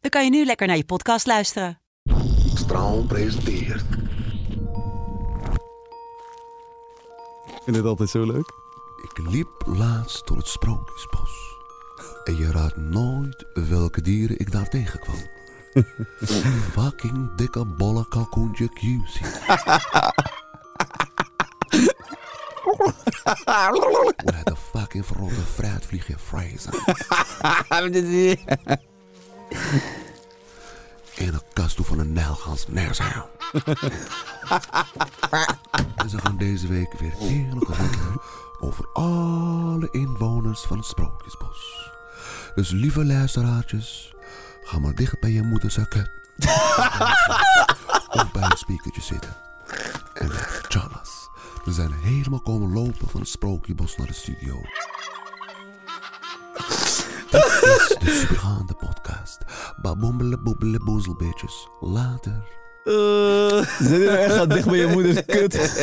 dan kan je nu lekker naar je podcast luisteren. Straal presenteert. Ik vind het altijd zo leuk. Ik liep laatst door het Sprookjesbos. En je raadt nooit welke dieren ik daar tegenkwam. Fucking dikke bolle kalkoentje QC. Hoe hij de fucking verrotte fruitvliegje Fraser. In een kast toe van een nijlgans neerzaal. en ze gaan deze week weer heerlijk roddelen over alle inwoners van het Sprookjesbos. Dus lieve luisteraartjes, ga maar dicht bij je moeder zakken. of bij een speakertje zitten. En tjallas, we zijn helemaal komen lopen van het Sprookjesbos naar de studio. Dit is de supergaande podcast. Baboemele boebele boezelbeetjes. Later. Eh, Zit je nou echt aan dicht bij je moeders kut?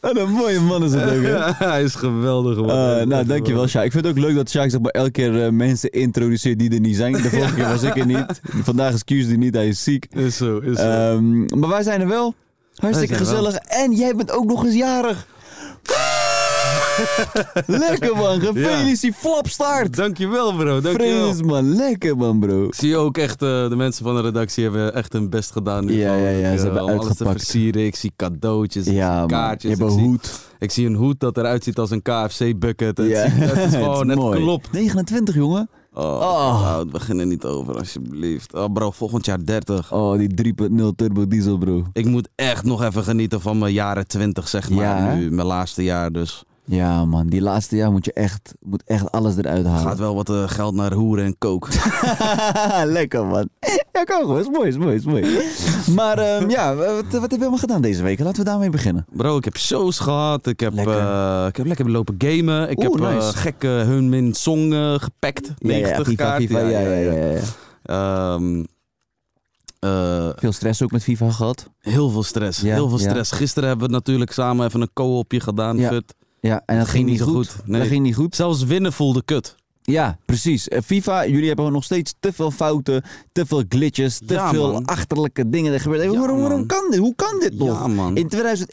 Wat een mooie man is dat ook, hè? Hij is geweldig man. Eh, nou, dankjewel, Sjaak. Ik vind het ook leuk dat Sjaak zeg maar elke keer eh, mensen introduceert die er niet zijn. De vorige keer was ik er niet. Vandaag is Q's er niet, hij is ziek. Is zo, is zo. Ehm, maar wij zijn er wel. Hartstikke Wij zijn er wel. gezellig. En jij bent ook nog eens jarig. Lekker man, gefeliciteerd. Flapstaart. dankjewel bro, dankjewel. Vrees man, lekker man bro. Ik Zie je ook echt, eh, de mensen van de redactie hebben echt hun best gedaan. nu Ja, gewoon, ja, ja, eh, ze hebben om alles te uitgepakt. versieren. Ik zie cadeautjes, ik Ja zie man, je kaartjes. hebt een ik, zie, hoed. ik zie een hoed dat eruit ziet als een KFC-bucket. Het is gewoon, het, mooi. klopt. 29 jongen. Oh, Oh. we beginnen niet over alsjeblieft. Oh bro, volgend jaar 30. Oh, die 3.0 turbo diesel, bro. Ik moet echt nog even genieten van mijn jaren 20, zeg maar. Ja, hè? nu, mijn laatste jaar dus. Ja, man. Die laatste jaar moet je echt, moet echt alles eruit halen. Gaat wel wat eh, geld naar hoeren en kook. Lekker, man. Ja, kan gewoon. Is mooi, is mooi, is mooi. Maar ehm, ja, wat, wat hebben we allemaal gedaan deze week? Laten we daarmee beginnen. Bro, ik heb shows gehad. Ik heb Lekker. lekker, ik heb lekker lopen gamen. Ik Oeh, heb eh, nice. gekke Hun Min Song eh, gepakt. 90 kaart. Ja, ja, ja, ja. Ehm, eh, Veel stress ook met FIFA gehad. heel veel stress. Ja, heel veel ja. stress. Gisteren hebben we natuurlijk samen even een co-opje gedaan. Ja. fut. Ja, en dat ging, niet goed. Nee. Dat ging niet goed. Zelfs winnen voelde kut. Ja, precies. Eh, FIFA, jullie hebben nog steeds te veel fouten, te veel glitches, te Ja, veel man. achterlijke dingen. Er gebeuren. Ja, waarom, waarom man. kan dit? Hoe kan dit nog? Ja, man. In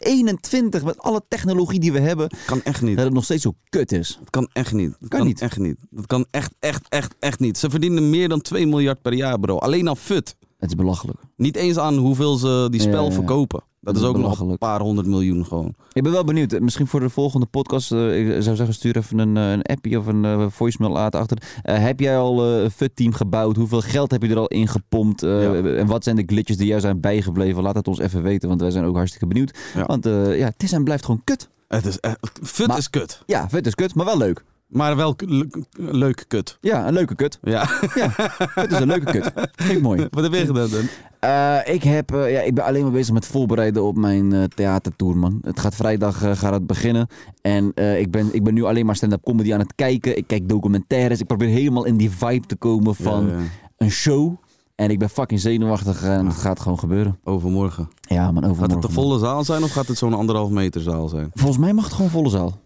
2021, met alle technologie die we hebben, Kan echt niet. dat het nog steeds zo kut is. Dat kan echt niet. Dat Kan kan, niet. echt niet. Dat kan echt, echt, echt, echt niet. Ze verdienen meer dan 2 miljard per jaar, bro. Alleen al fut. Het is belachelijk. Niet eens aan hoeveel ze die Ja, spel ja, ja. verkopen. Dat, is is ook nog een belachelijk. paar honderd miljoen gewoon. Ik ben wel benieuwd. Eh, Misschien voor de volgende podcast. eh, ik zou zeggen, stuur even een, eh, een appje of een eh, voicemail later achter. Eh, heb jij al eh, een FUT-team gebouwd? Hoeveel geld heb je er al in gepompt? Eh, Ja. En wat zijn de glitches die jou zijn bijgebleven? Laat het ons even weten, want wij zijn ook hartstikke benieuwd. Ja. Want eh, ja, het is en blijft gewoon kut. Het is echt, fut Maar- is kut. Ja, vet is kut, maar wel leuk. Maar wel k- le- k- leuk kut. Ja, een leuke kut. Ja. Vet is een leuke kut. Vind ik mooi. Wat heb je gedaan dan? Eh, ik, heb, eh, ja, ik ben alleen maar bezig met voorbereiden op mijn eh, theatertour, man. Het gaat vrijdag eh, gaat het beginnen. En eh, ik, ben, ik ben nu alleen maar stand-up comedy aan het kijken. Ik kijk documentaires. Ik probeer helemaal in die vibe te komen van Ja, ja. een show. En ik ben fucking zenuwachtig eh, en het gaat gewoon gebeuren. Overmorgen. Ja, man, overmorgen. Gaat het de man. volle zaal zijn of gaat het zo'n anderhalf meter zaal zijn? Volgens mij mag het gewoon volle zaal.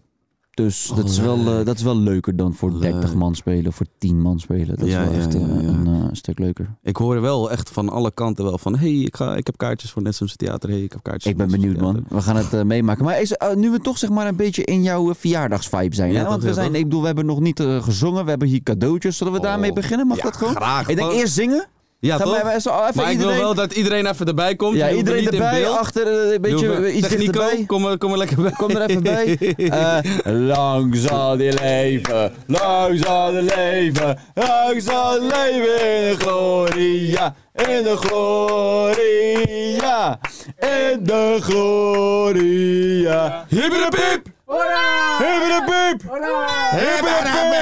Dus dat, is wel, eh, Oh, leuk. dat is wel leuker dan voor Leuk. 30 man spelen, voor 10 man spelen. Dat Ja, is wel ja, echt eh, ja, ja. een eh, stuk leuker. Ik hoor wel echt van alle kanten wel van... hey, ik, ga, ik heb kaartjes voor Netsumse Theater. hey, ik heb kaartjes Ik ben voor Netsumse benieuwd, man. Theater. We gaan het eh, meemaken. Maar is, eh, nu we toch zeg maar een beetje in jouw eh, verjaardagsvibe zijn. Ja, hè? toch, Want we ja, zijn, toch? ik bedoel, we hebben nog niet eh, gezongen. We hebben hier cadeautjes. Zullen we daarmee Oh, beginnen? Mag ja, dat gewoon? Graag. Ik denk gewoon. eerst zingen. Ja, Gaan toch? we even- zo, even maar ik wil iedereen- wel dat iedereen even erbij komt. Ja, Je hoeft er iedereen niet in erbij, beeld. achter, eh, een Je beetje hoeft- eh, iets Technico, dichterbij. Kom er, kom er lekker bij. Kom er even bij. Eh, lang zal die leven, lang zal die leven, lang zal die leven in de gloria, in de gloria, in de gloria. Hibberdepiep! Hibberdepiep!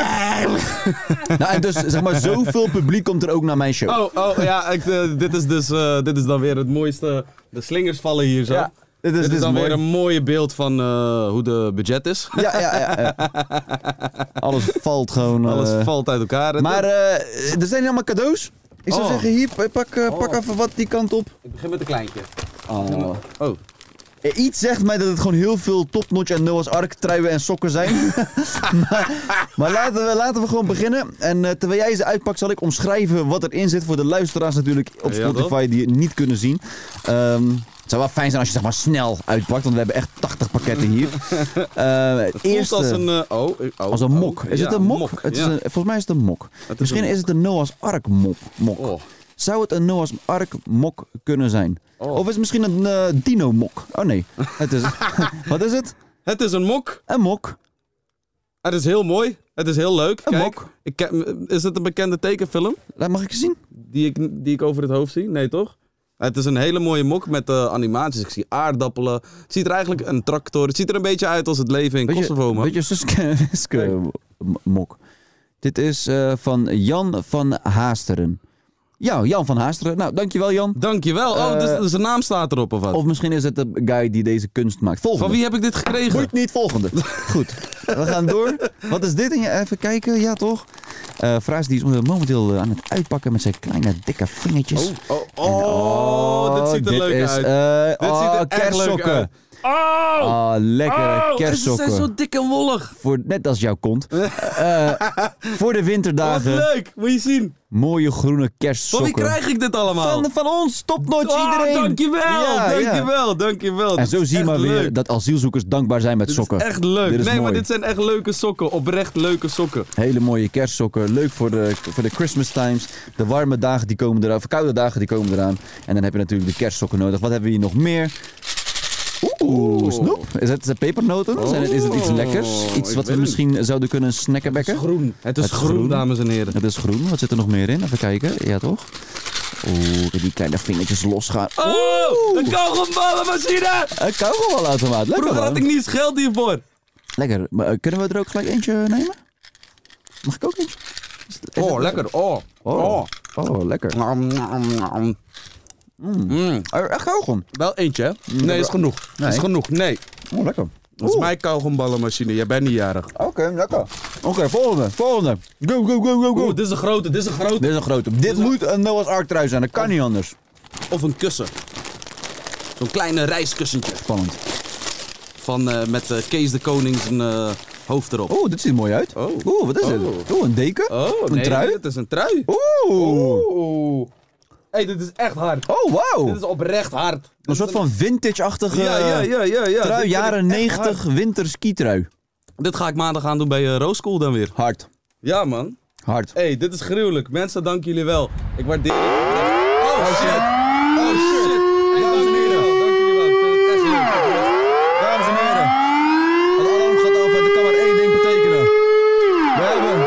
Hibberdepiep! Nou, en dus zeg maar, zoveel publiek komt er ook naar mijn show. Oh, oh ja, ik, eh, dit, is dus, eh, dit is dan weer het mooiste. De slingers vallen hier zo. Ja, dit is- dit dit is is dan mooi. Eh, weer een mooie beeld van eh, hoe de budget is. Ja, ja, ja. ja. Alles valt gewoon. eh, Alles valt uit elkaar. Het- Maar eh, er zijn helemaal cadeaus. Ik zou Oh. zeggen, hier, pak, pak, eh, pak even wat die kant op. Ik begin met een kleintje. eh, Oh. Oh, Eh, Iets zegt mij dat het gewoon heel veel topnotch en Noah's Ark truien en sokken zijn. maar maar laten, we, laten we gewoon beginnen. En eh, terwijl jij ze uitpakt, zal ik omschrijven wat erin zit voor de luisteraars natuurlijk op Ja, toch? Spotify die het niet kunnen zien. Ehm, het zou wel fijn zijn als je zeg maar snel uitpakt, want we hebben echt 80 pakketten hier. Eh, het het voelt eerste- als een. eh, oh, eh, oh, als een oh. mok. Is Ja, het een mok? ja. Het is een- volgens mij is het een mok. Misschien een is het een Noah's Ark mok. mok. Oh. Zou het een Noah's Ark mok kunnen zijn? Oh. Of is het misschien een eh, dino mok? Oh nee, het is, wat is het? Het is een mok. Een mok. Het is heel mooi. Het is heel leuk. Een Kijk, mok. Ik, ken- is het een bekende tekenfilm Laat- Mag ik je zien? die ik, die ik over het hoofd zie? Nee, toch? Het is een hele mooie mok met eh, animaties. Ik zie aardappelen. Het ziet er eigenlijk een tractor. Het ziet er een beetje uit als het leven in Kosovo, man. beetje Suske, Suske m- mok. Dit is eh, van Jan van Haasteren. Ja, Jan van Haasteren. Nou, dankjewel Jan. Dankjewel. Oh, dus, Eh, dus zijn naam staat erop of wat? Of misschien is het de guy die deze kunst maakt. Volgende. Van wie heb ik dit gekregen? Boeit niet, volgende. Goed, we gaan door. Wat is dit? En Even kijken, ja toch? Eh Fraas die is momenteel eh, aan het uitpakken met zijn kleine dikke vingertjes. Oh, oh, oh, dit ziet er leuk is, uit. eh, Dit oh, ziet er echt leuk kerstsokken. uit. Oh, lekkere Ze kerstsokken. zijn zo dik en wollig. Voor, net als jouw kont. Eh, voor de Wat winterdagen. leuk, moet je zien. Mooie groene Van wie kerstsokken. krijg ik dit allemaal? van, van ons, topnotch Oh, iedereen. dankjewel, Ja, ja. dankjewel, dankjewel. En zo Dit is zie je echt maar weer leuk. dat asielzoekers dankbaar zijn met Dit sokken. is echt leuk. Dit is nee, maar mooi. dit zijn echt leuke sokken. Oprecht leuke sokken. Hele mooie kerstsokken. Leuk voor de, voor de Christmas times. De warme dagen die komen eraan. Of koude dagen die komen eraan. En dan heb je natuurlijk de kerstsokken nodig. Wat hebben we hier nog meer? Oeh, snoep. Is het eh, pepernoten? Zijn het, is het iets Oh, lekkers? ik Iets weet wat we het misschien zouden kunnen snackenbekken? Groen. Het is, Het is groen, groen. dames en heren. Het is groen. Wat zit er nog meer in? Even kijken. Ja, toch? Oeh, kijk die kleine vingertjes losgaan. Oh, Oeh, een kauwgomballenmachine! een kauwgombalautomaat. Lekker Vroeger had ik man. niet eens geld hiervoor. Lekker. Maar, eh, kunnen we er ook gelijk eentje nemen? Mag ik ook eentje? Is het- is Oh, het- lekker. Oh. Oh, Oh. oh lekker. Nom, nom, nom. Mm. Eh, Echt kauwgom. Wel eentje, hè? Nee, is genoeg. Nee. Is genoeg, nee. Oh, lekker. Dat is Oeh. mijn kauwgomballenmachine. Jij bent niet jarig. Oké, lekker. Oké, volgende. Volgende. Go, go, go, go, go. Oeh, Oh, dit is een grote, dit is een grote. Dit is een grote. Dit moet een Noah's Ark trui zijn. Dat kan niet anders. Of een kussen. Zo'n kleine reiskussentje. Spannend. Van, eh, met eh, Kees de Koning zijn eh, hoofd erop. Oeh, dit ziet er mooi uit. Oh. Oeh, wat is Oh. dit? Oeh, een deken? een nee, trui? Dit is een trui. Oh. Oeh. Oeh. hey, dit is echt hard. Oh, Dit wauw. is oprecht hard. Dit Een is soort van vintage-achtige Ja, ja, ja, ja. ja. Dit vind trui. ik Jaren echt 90 hard. winterskitrui. Dit ga ik maandag aan doen bij eh, Rooschool dan weer. Hard. Ja, man. Hard. hey, dit is gruwelijk. Mensen, dank jullie wel. Ik waardeer het. Oh, shit. Oh, shit. Hey, dank en jullie heren. wel. Dank jullie wel. Ik vind het echt leuk. Dames en heren. Het alarm gaat af en dat kan maar één ding betekenen. We hebben...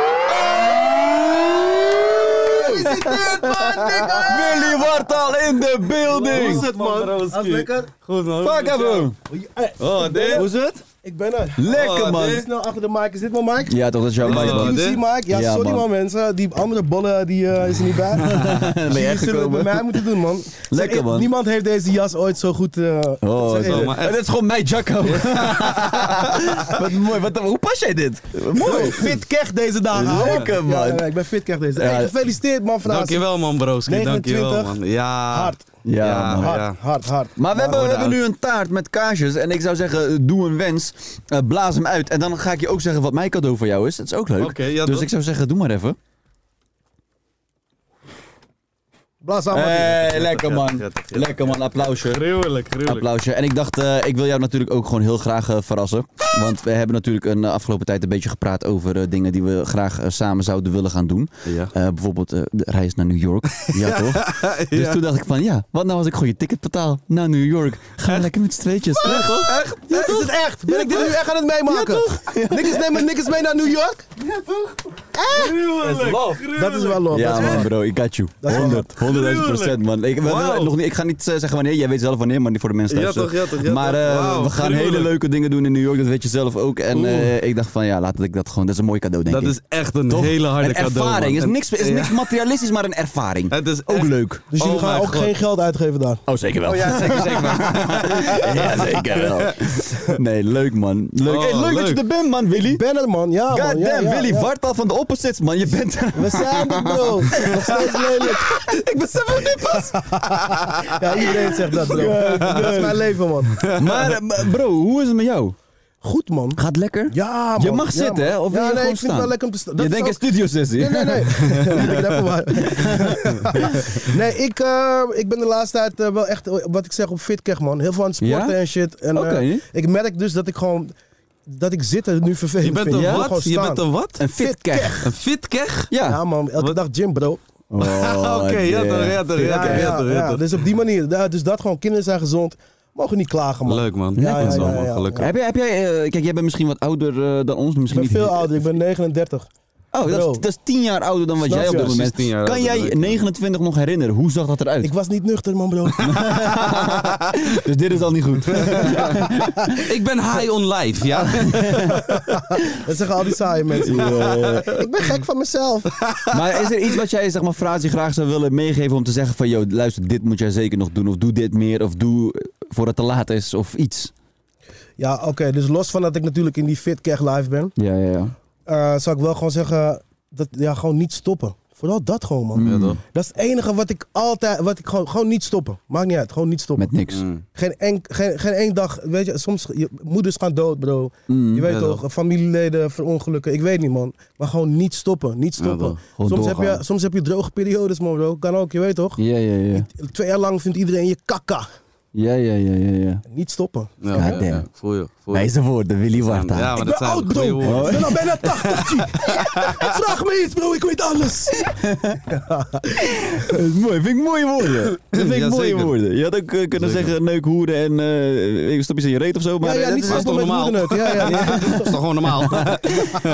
Willy Wartal in de building! Hoe is het, man? Dat is lekker. Goed, man. Fuck hem! Eh, Oh, dit. Hoe is het? Ik ben er. Lekker Oh, man! dit- Snel achter de mic. Is dit mijn mic? Ja toch, dat is jouw is mic wel man. dit. QC mic? Ja, Ja, sorry man. man. mensen. Die andere bollen die, eh, is er niet bij. Ben je Die zullen echt het bij gekomen? mij moeten doen man. Zeg, ik- man. Niemand heeft deze jas ooit zo goed... eh, Oh, zeg, zo, eh, maar echt. En dit is gewoon mijn Jacco. wat mooi, wat, hoe pas jij dit? Mooi. Fit kech deze dagen. Lekker Ja, man. ja, ik ben fit kech deze Ja. dagen. Hey, gefeliciteerd man vandaag. Dankjewel, man, broski. Dankjewel, 29. man. Ja. Hard. Ja, man. Hard, ja. hard, hard. Maar we hebben, we goed, hebben Oud. nu een taart met kaarsjes. En ik zou zeggen, eh, doe een wens. eh, blaas hem uit. En dan ga ik je ook zeggen wat mijn cadeau voor jou is. Dat is ook leuk. Oké, ja, dus dat- ik zou zeggen, doe maar even. Blaas aan Hey, lekker man. prettig, ja. lekker man, applausje. Gruwelijk, gruwelijk. Applausje. En ik dacht, eh, ik wil jou natuurlijk ook gewoon heel graag eh, verrassen. Want we hebben natuurlijk een eh, afgelopen tijd een beetje gepraat over eh, dingen die we graag eh, samen zouden willen gaan doen. Ja. Eh, bijvoorbeeld eh, de reis naar New York. Ja, toch? Dus toen dacht ik van, ja, wat nou als ik gewoon je ticket betaal naar New York? Gaan we lekker met z'n tweetjes. Ja, toch? Echt? is het echt? Ben ik dit nu echt aan het meemaken? Niks nemen niks mee naar New York? Gruwelijk. Dat is wel Oh, lol. Ja, dat is wel man, lol. bro, ik got you. is wel 100, 100.000 procent, man. Ik, we- we- Wauw. nog niet, ik ga niet eh, zeggen wanneer, jij weet zelf wanneer, maar niet voor de mensen Ja, thuis. toch, ja, toch, ja, maar toch. eh, Wauw, we gaan gruwelijk. hele leuke dingen doen in New York, dat weet je zelf ook. En eh, ik dacht van, ja, laat ik dat gewoon, dat is een mooi cadeau, denk Dat ik. is echt een Toch? hele harde een cadeau. ervaring, man. is, niks, is Ja. niks materialistisch, maar een ervaring. Het is ook echt- leuk. Dus jullie Oh gaan mijn ook God. geen geld uitgeven daar? Oh, zeker wel. ja, zeker, zeker ja, zeker wel. Nee, leuk, man. Leuk, Oh, Hey, leuk, dat je leuk. er bent, man, Willy. Ik ben er man, ja man. Goddamn, ja, ja, Willy, ja. Wartaal van de opposites, man. Je bent er. We zijn er bro. Nog steeds lelijk. ik ben zelf niet pas. Ja, iedereen zegt dat bro. Dat is mijn leven man. Maar eh, maar bro, hoe is het met jou? Goed man. Gaat lekker? Ja man. Je mag Ja, zitten, hè? man. Of wil ja, je nee, gewoon ik vind staan? het wel lekker om te staan. je Dat is denkt een ook- studiosessie. Nee, nee, nee. ik ben waar. nee, ik, eh, ik ben de laatste tijd eh, wel echt, eh, wat ik zeg, op fit krijg, man. Heel veel aan het sporten Ja? en shit. En, eh, Oké. ik merk dus dat ik gewoon, dat ik zitten nu vervelend Je bent vind. een Ik wil gewoon wat? Je staan. bent een wat? Een fit keg. Een fit keg? Ja Ja. man, elke dag gym bro. Oh, Oké, ja yeah. toch, ja toch, ja Ja, toch, ja ja, toch, ja. ja toch. Dus op die manier. Ja, dus dat gewoon, kinderen zijn gezond. Mogen niet klagen man. Leuk man. ja, Dat is ja, wel, ja, man, ja. Gelukkig. Heb jij, heb jij eh, kijk, jij bent misschien wat ouder eh, dan ons. Ik Misschien ben niet. veel ouder, ik ben 39. Oh, dat Bro. is, dat is tien jaar ouder dan wat Snap jij op je? dit Precies moment. tien jaar kan ouder jij dan ik, ja. 29 nog herinneren? Hoe zag dat eruit? Ik was niet nuchter man bro. dus dit is al niet goed. Ik ben high on life, ja? dat zeggen al die saaie mensen. ik ben gek van mezelf. maar is er iets wat jij, zeg maar, Frazi graag zou willen meegeven om te zeggen van, joh, luister, dit moet jij zeker nog doen. Of doe dit meer. Of doe eh, voordat het te laat is. Of iets. Ja, oké. dus los van dat ik natuurlijk in die fit keg live ben. Ja, ja, ja. eh, zou ik wel gewoon zeggen, dat, ja, gewoon niet stoppen. Vooral dat gewoon, man. Dat is het enige wat ik altijd, wat ik gewoon, gewoon niet stoppen. Maakt niet uit, gewoon niet stoppen. Met niks. Mm. Geen, en, geen, geen één dag, weet je, soms, je, moeders gaan dood, bro. je weet ja, toch, familieleden verongelukken, ik weet niet, man. Maar gewoon niet stoppen, niet stoppen. toch. Gewoon soms, heb je, doorgaan. soms heb je droge periodes, man, bro. Kan ook, je weet toch. Ja, ja, ja. Twee jaar lang vindt iedereen je kakka. Ja, ja, ja, ja, ja. Niet stoppen. Ja, Ja, ja, ja. damn. Voel je, voel je. Wijze woorden, Willy Warta. Ja, maar ik dat ben zijn oud, goede bro. woorden. Ik ben al bijna 80, G. Vraag me iets, bro. Ik weet alles. Dat is mooi, vind ik mooie woorden. Dat vind ik Ja, mooie zeker. woorden. Je had ook eh, kunnen Zeker. zeggen neuk, hoeren en eh, stop je ze in je reet of zo. Maar Ja, eh, ja, dat niet is- dat is stoppen met toch normaal? moederneut. Ja, ja, ja. Dat is toch gewoon normaal?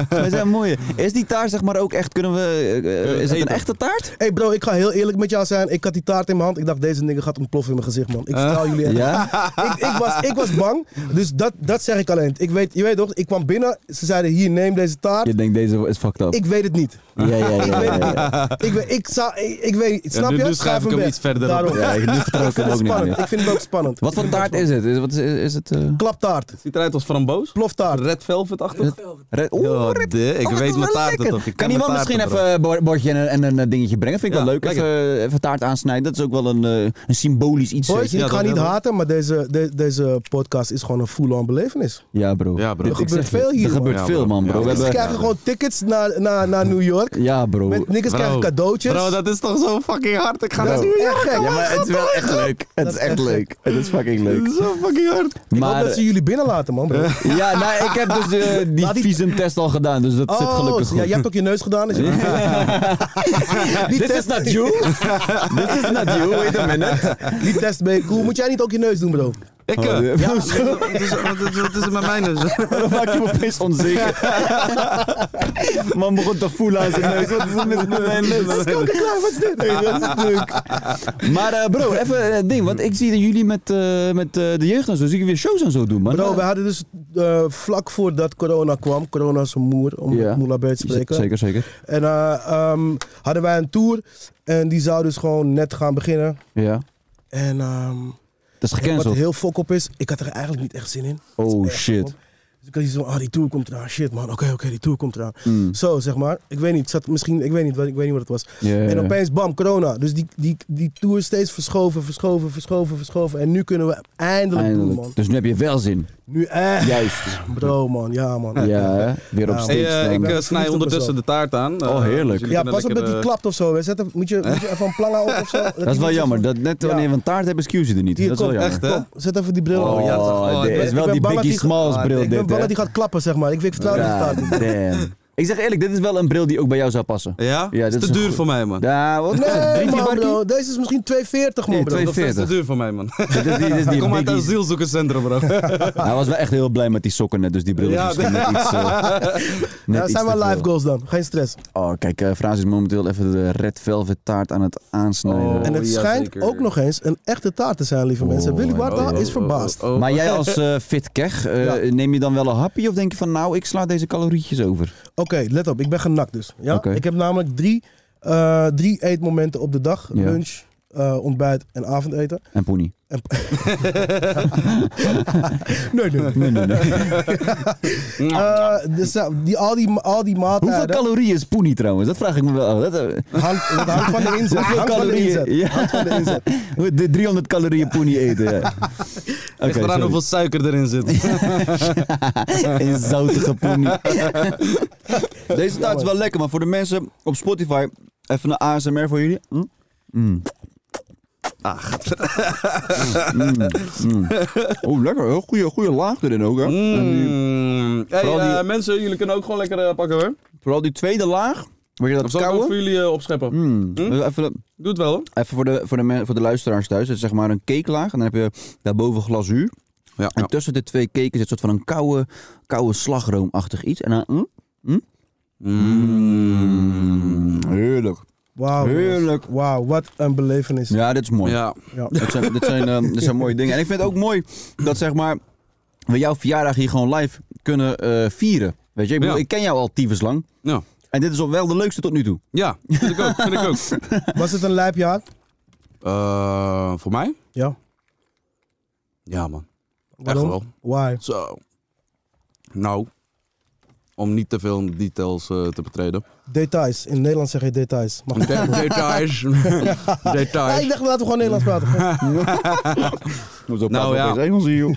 wij zijn mooie. Is die taart zeg maar ook echt, kunnen we, eh, eh, is dat een eten. echte taart? Hey bro, ik ga heel eerlijk met jou zijn. Ik had die taart in mijn hand. Ik dacht, deze nigger gaat ontploffen in mijn gezicht, man. Ik vertel jullie echt. Ja? Ik, ik, was, ik was bang. Dus dat, dat zeg ik alleen. Ik weet, je weet toch, ik kwam binnen. Ze zeiden, hier, neem deze taart. Je denkt deze is fucked up. Ik weet het niet. Ja, ja, ja. Ik ja, weet het ja. niet. Ik, weet, ik, zou, ik, ik weet niet. Snap nu- je? nu schrijf ik hem weg. iets verder op. Daarom. Ja, ik- nu vertrouw Ik vind het ik hem ook niet spannend. meer. Ik vind het ook spannend. Wat voor taart is het? Is, wat is, is het? eh, Klaptaart. Ziet eruit als framboos? Ploftaart. Red velvet achter? red- Oeh, Ja, red- de- ik Oh, dat weet is mijn wel taarten lekker. toch, ik ken kan iemand mijn misschien taarten, even een bo- bordje en een, en een eh, dingetje brengen? Vind ik wel Ja, leuk. lekker. Even, eh, even taart aansnijden. Dat is ook wel een, eh, een symbolisch iets. Boys, Ja, ik ga dat- niet dat- haten, maar deze, de- deze podcast is gewoon een full-on belevenis. Ja, bro. Ja, bro. Ik Er gebeurt zeg je, veel hier, Er man. gebeurt Ja, veel, bro. man, bro. Ja, We ik Ze Eh, hebben... krijgen gewoon tickets naar, naar, naar New York. Ja, bro. Met niggers krijgen cadeautjes. Bro, dat is toch zo fucking hard? Ik ga Dat dat is nu echt gek. Ja, maar het is wel echt leuk. Het is echt leuk. Het is fucking leuk. Zo fucking hard. Ik hoop dat ze Maar... jullie binnenlaten, man. Bro. Ja, nou, ik heb dus eh, die Laat die- visumtest al gedaan, dus dat zit gelukkig Oh, ja, goed. je hebt ook je neus gedaan. Is het? die, This is test, not you. This is not you. Wait a minute. die test ben je cool. Moet jij niet ook je neus doen, bro? Ik eh, Oh, ja. ja, wat is- wat is- wat is- wat is er met mijn neus? Dan maak je me opeens onzeker. Man begon te voelen aan zijn neus. Wat is er met mijn neus? wat is dit? Maar eh, bro, even eh, ding. Want ik zie dat jullie met, eh, met eh, de jeugd en zo, zie ik weer shows en zo doen, man. Bro, we hadden dus eh, vlak voordat corona kwam, corona is een moer, om Ja. het Moela bij te spreken. Zeker, zeker. En eh, ehm, hadden wij een tour en die zou dus gewoon net gaan beginnen. Ja. En ehm, Dat is wat gecanceld. heel fok op is, ik had er eigenlijk niet echt zin in. Oh Echt, shit. man. Dus ik had iets van, ah, die tour komt eraan. Shit, man. Oké, oké, die tour komt eraan. Mm. Zo, zeg maar. Ik weet niet. het Zat misschien, ik weet niet, wat- ik weet niet wat het was. Ja, ja, En ja. opeens, bam, corona. Dus die, die, die tour steeds verschoven, verschoven, verschoven, verschoven. En nu kunnen we eindelijk, doen, man. Eindelijk. Dus nu heb je wel zin. Nu echt. Juist. Bro, man. Ja, man. Ja, hè? weer op Ja. stage Hey, eh, staan. ik eh, ben verliefd snij op ondertussen de mezelf. taart aan. eh, Oh, heerlijk. dus jullie Ja, kunnen pas op lekker, dat die eh, klapt of zo. hè. Zet er- moet, je, moet je even een planga op of zo. dat is wel jammer. Dat net Ja. wanneer we een taart hebben, excuse er niet. Hier, dat is wel kom, jammer. Echt, hè? Kom, zet even die bril op. Oh, ja, Oh, dit dit- is ik wel ben die bang dat Biggie die- Smalls Ah, bril ik Ik ben dit, bang hè? dat die gaat klappen, zeg maar. Ik, eh, ik vertrouw die Ja, taart niet. damn. Ik zeg eerlijk, dit is wel een bril die ook bij jou zou passen. Ja? Ja, is dat te is een duur goed- voor mij, man. Ja, wat is het? Nee, Drie, vier man, barkie? bro. Deze is misschien 2,40, man, Nee, bro. Dat is te 42. duur voor mij, man. Dit is die, dit is die Ik kom uit een Biggie's. asielzoekerscentrum, bro. Hij was wel echt heel blij met die sokken net, dus die bril is Ja, misschien net iets... eh, net Ja, dat iets zijn te wel live veel. goals dan. Geen stress. Oh, kijk, eh Frans is momenteel even de Red Velvet taart aan het aansnijden. Oh, En het ja, schijnt zeker. ook nog eens een echte taart te zijn, lieve mensen. Willy Warta Oh, oh, is verbaasd. oh, oh, oh. Maar jij als eh, fit kech, eh, Ja. neem je dan wel een hapje of denk je van nou, ik sla deze calorietjes over? Oké, let op. Ik ben genakt dus. Ja? Oké. Ik heb namelijk drie, eh, drie eetmomenten op de dag. Ja. Lunch, eh, ontbijt en avondeten. En poenie. Nee, nee. Nee, nee, nee. Eh, dus, eh, die, al, die, al die Hoeveel maaltijden... calorieën is poenie trouwens? Dat vraag ik me wel. af. Dat, eh, Hangt, dat hangt van de inzet. hoeveel Hangt van de calorieën? inzet. Ja. De 300 calorieën poenie eten, ja. Ligt Oké, eraan sorry. hoeveel suiker erin zit. Een zoutige poenie. Deze taart is wel lekker, maar voor de mensen op Spotify, even een ASMR voor jullie. Hm? Mm. Mm, mm. Oh, lekker. Heel goede, goede laag erin ook, hè. Mm. Hey, Vooral die- eh, mensen, jullie kunnen ook gewoon lekker eh, pakken, hoor. Vooral die tweede laag. Weet je Of zal dat ik Hmm? ook voor kouwen? jullie eh, opscheppen? Mm. Even, Doe het wel, hoor. even voor, de, voor, de men- voor de luisteraars thuis. Het is zeg maar een cakelaag. En dan heb je daarboven glazuur. Ja, En tussen de twee cakes zit een soort van een koude, koude slagroomachtig iets. En dan... mm, mm. Heerlijk. Wauw. jongens. Heerlijk. Wauw, wat een belevenis. Ja, dit is mooi. Ja. Ja. Dit zijn, dit, zijn, ehm, dit zijn mooie dingen. En ik vind het ook mooi dat zeg maar, we jouw verjaardag hier gewoon live kunnen eh, vieren. Weet je, ik, bedoel, Ja. ik ken jou al tyfus lang. Ja. En dit is al wel de leukste tot nu toe. Ja, vind ik ook. Vind ik ook. Was het een lijpjaar? Eh, voor mij? Ja. Ja, man. Waarom? wel. Why? Zo. Nou, om niet te veel details eh, te betreden. Details. In Nederland zeg je details. Mag De- details. Ja, ik details. dacht, laten we gewoon Nederlands praten. Nou, ja. opeens Engels joh.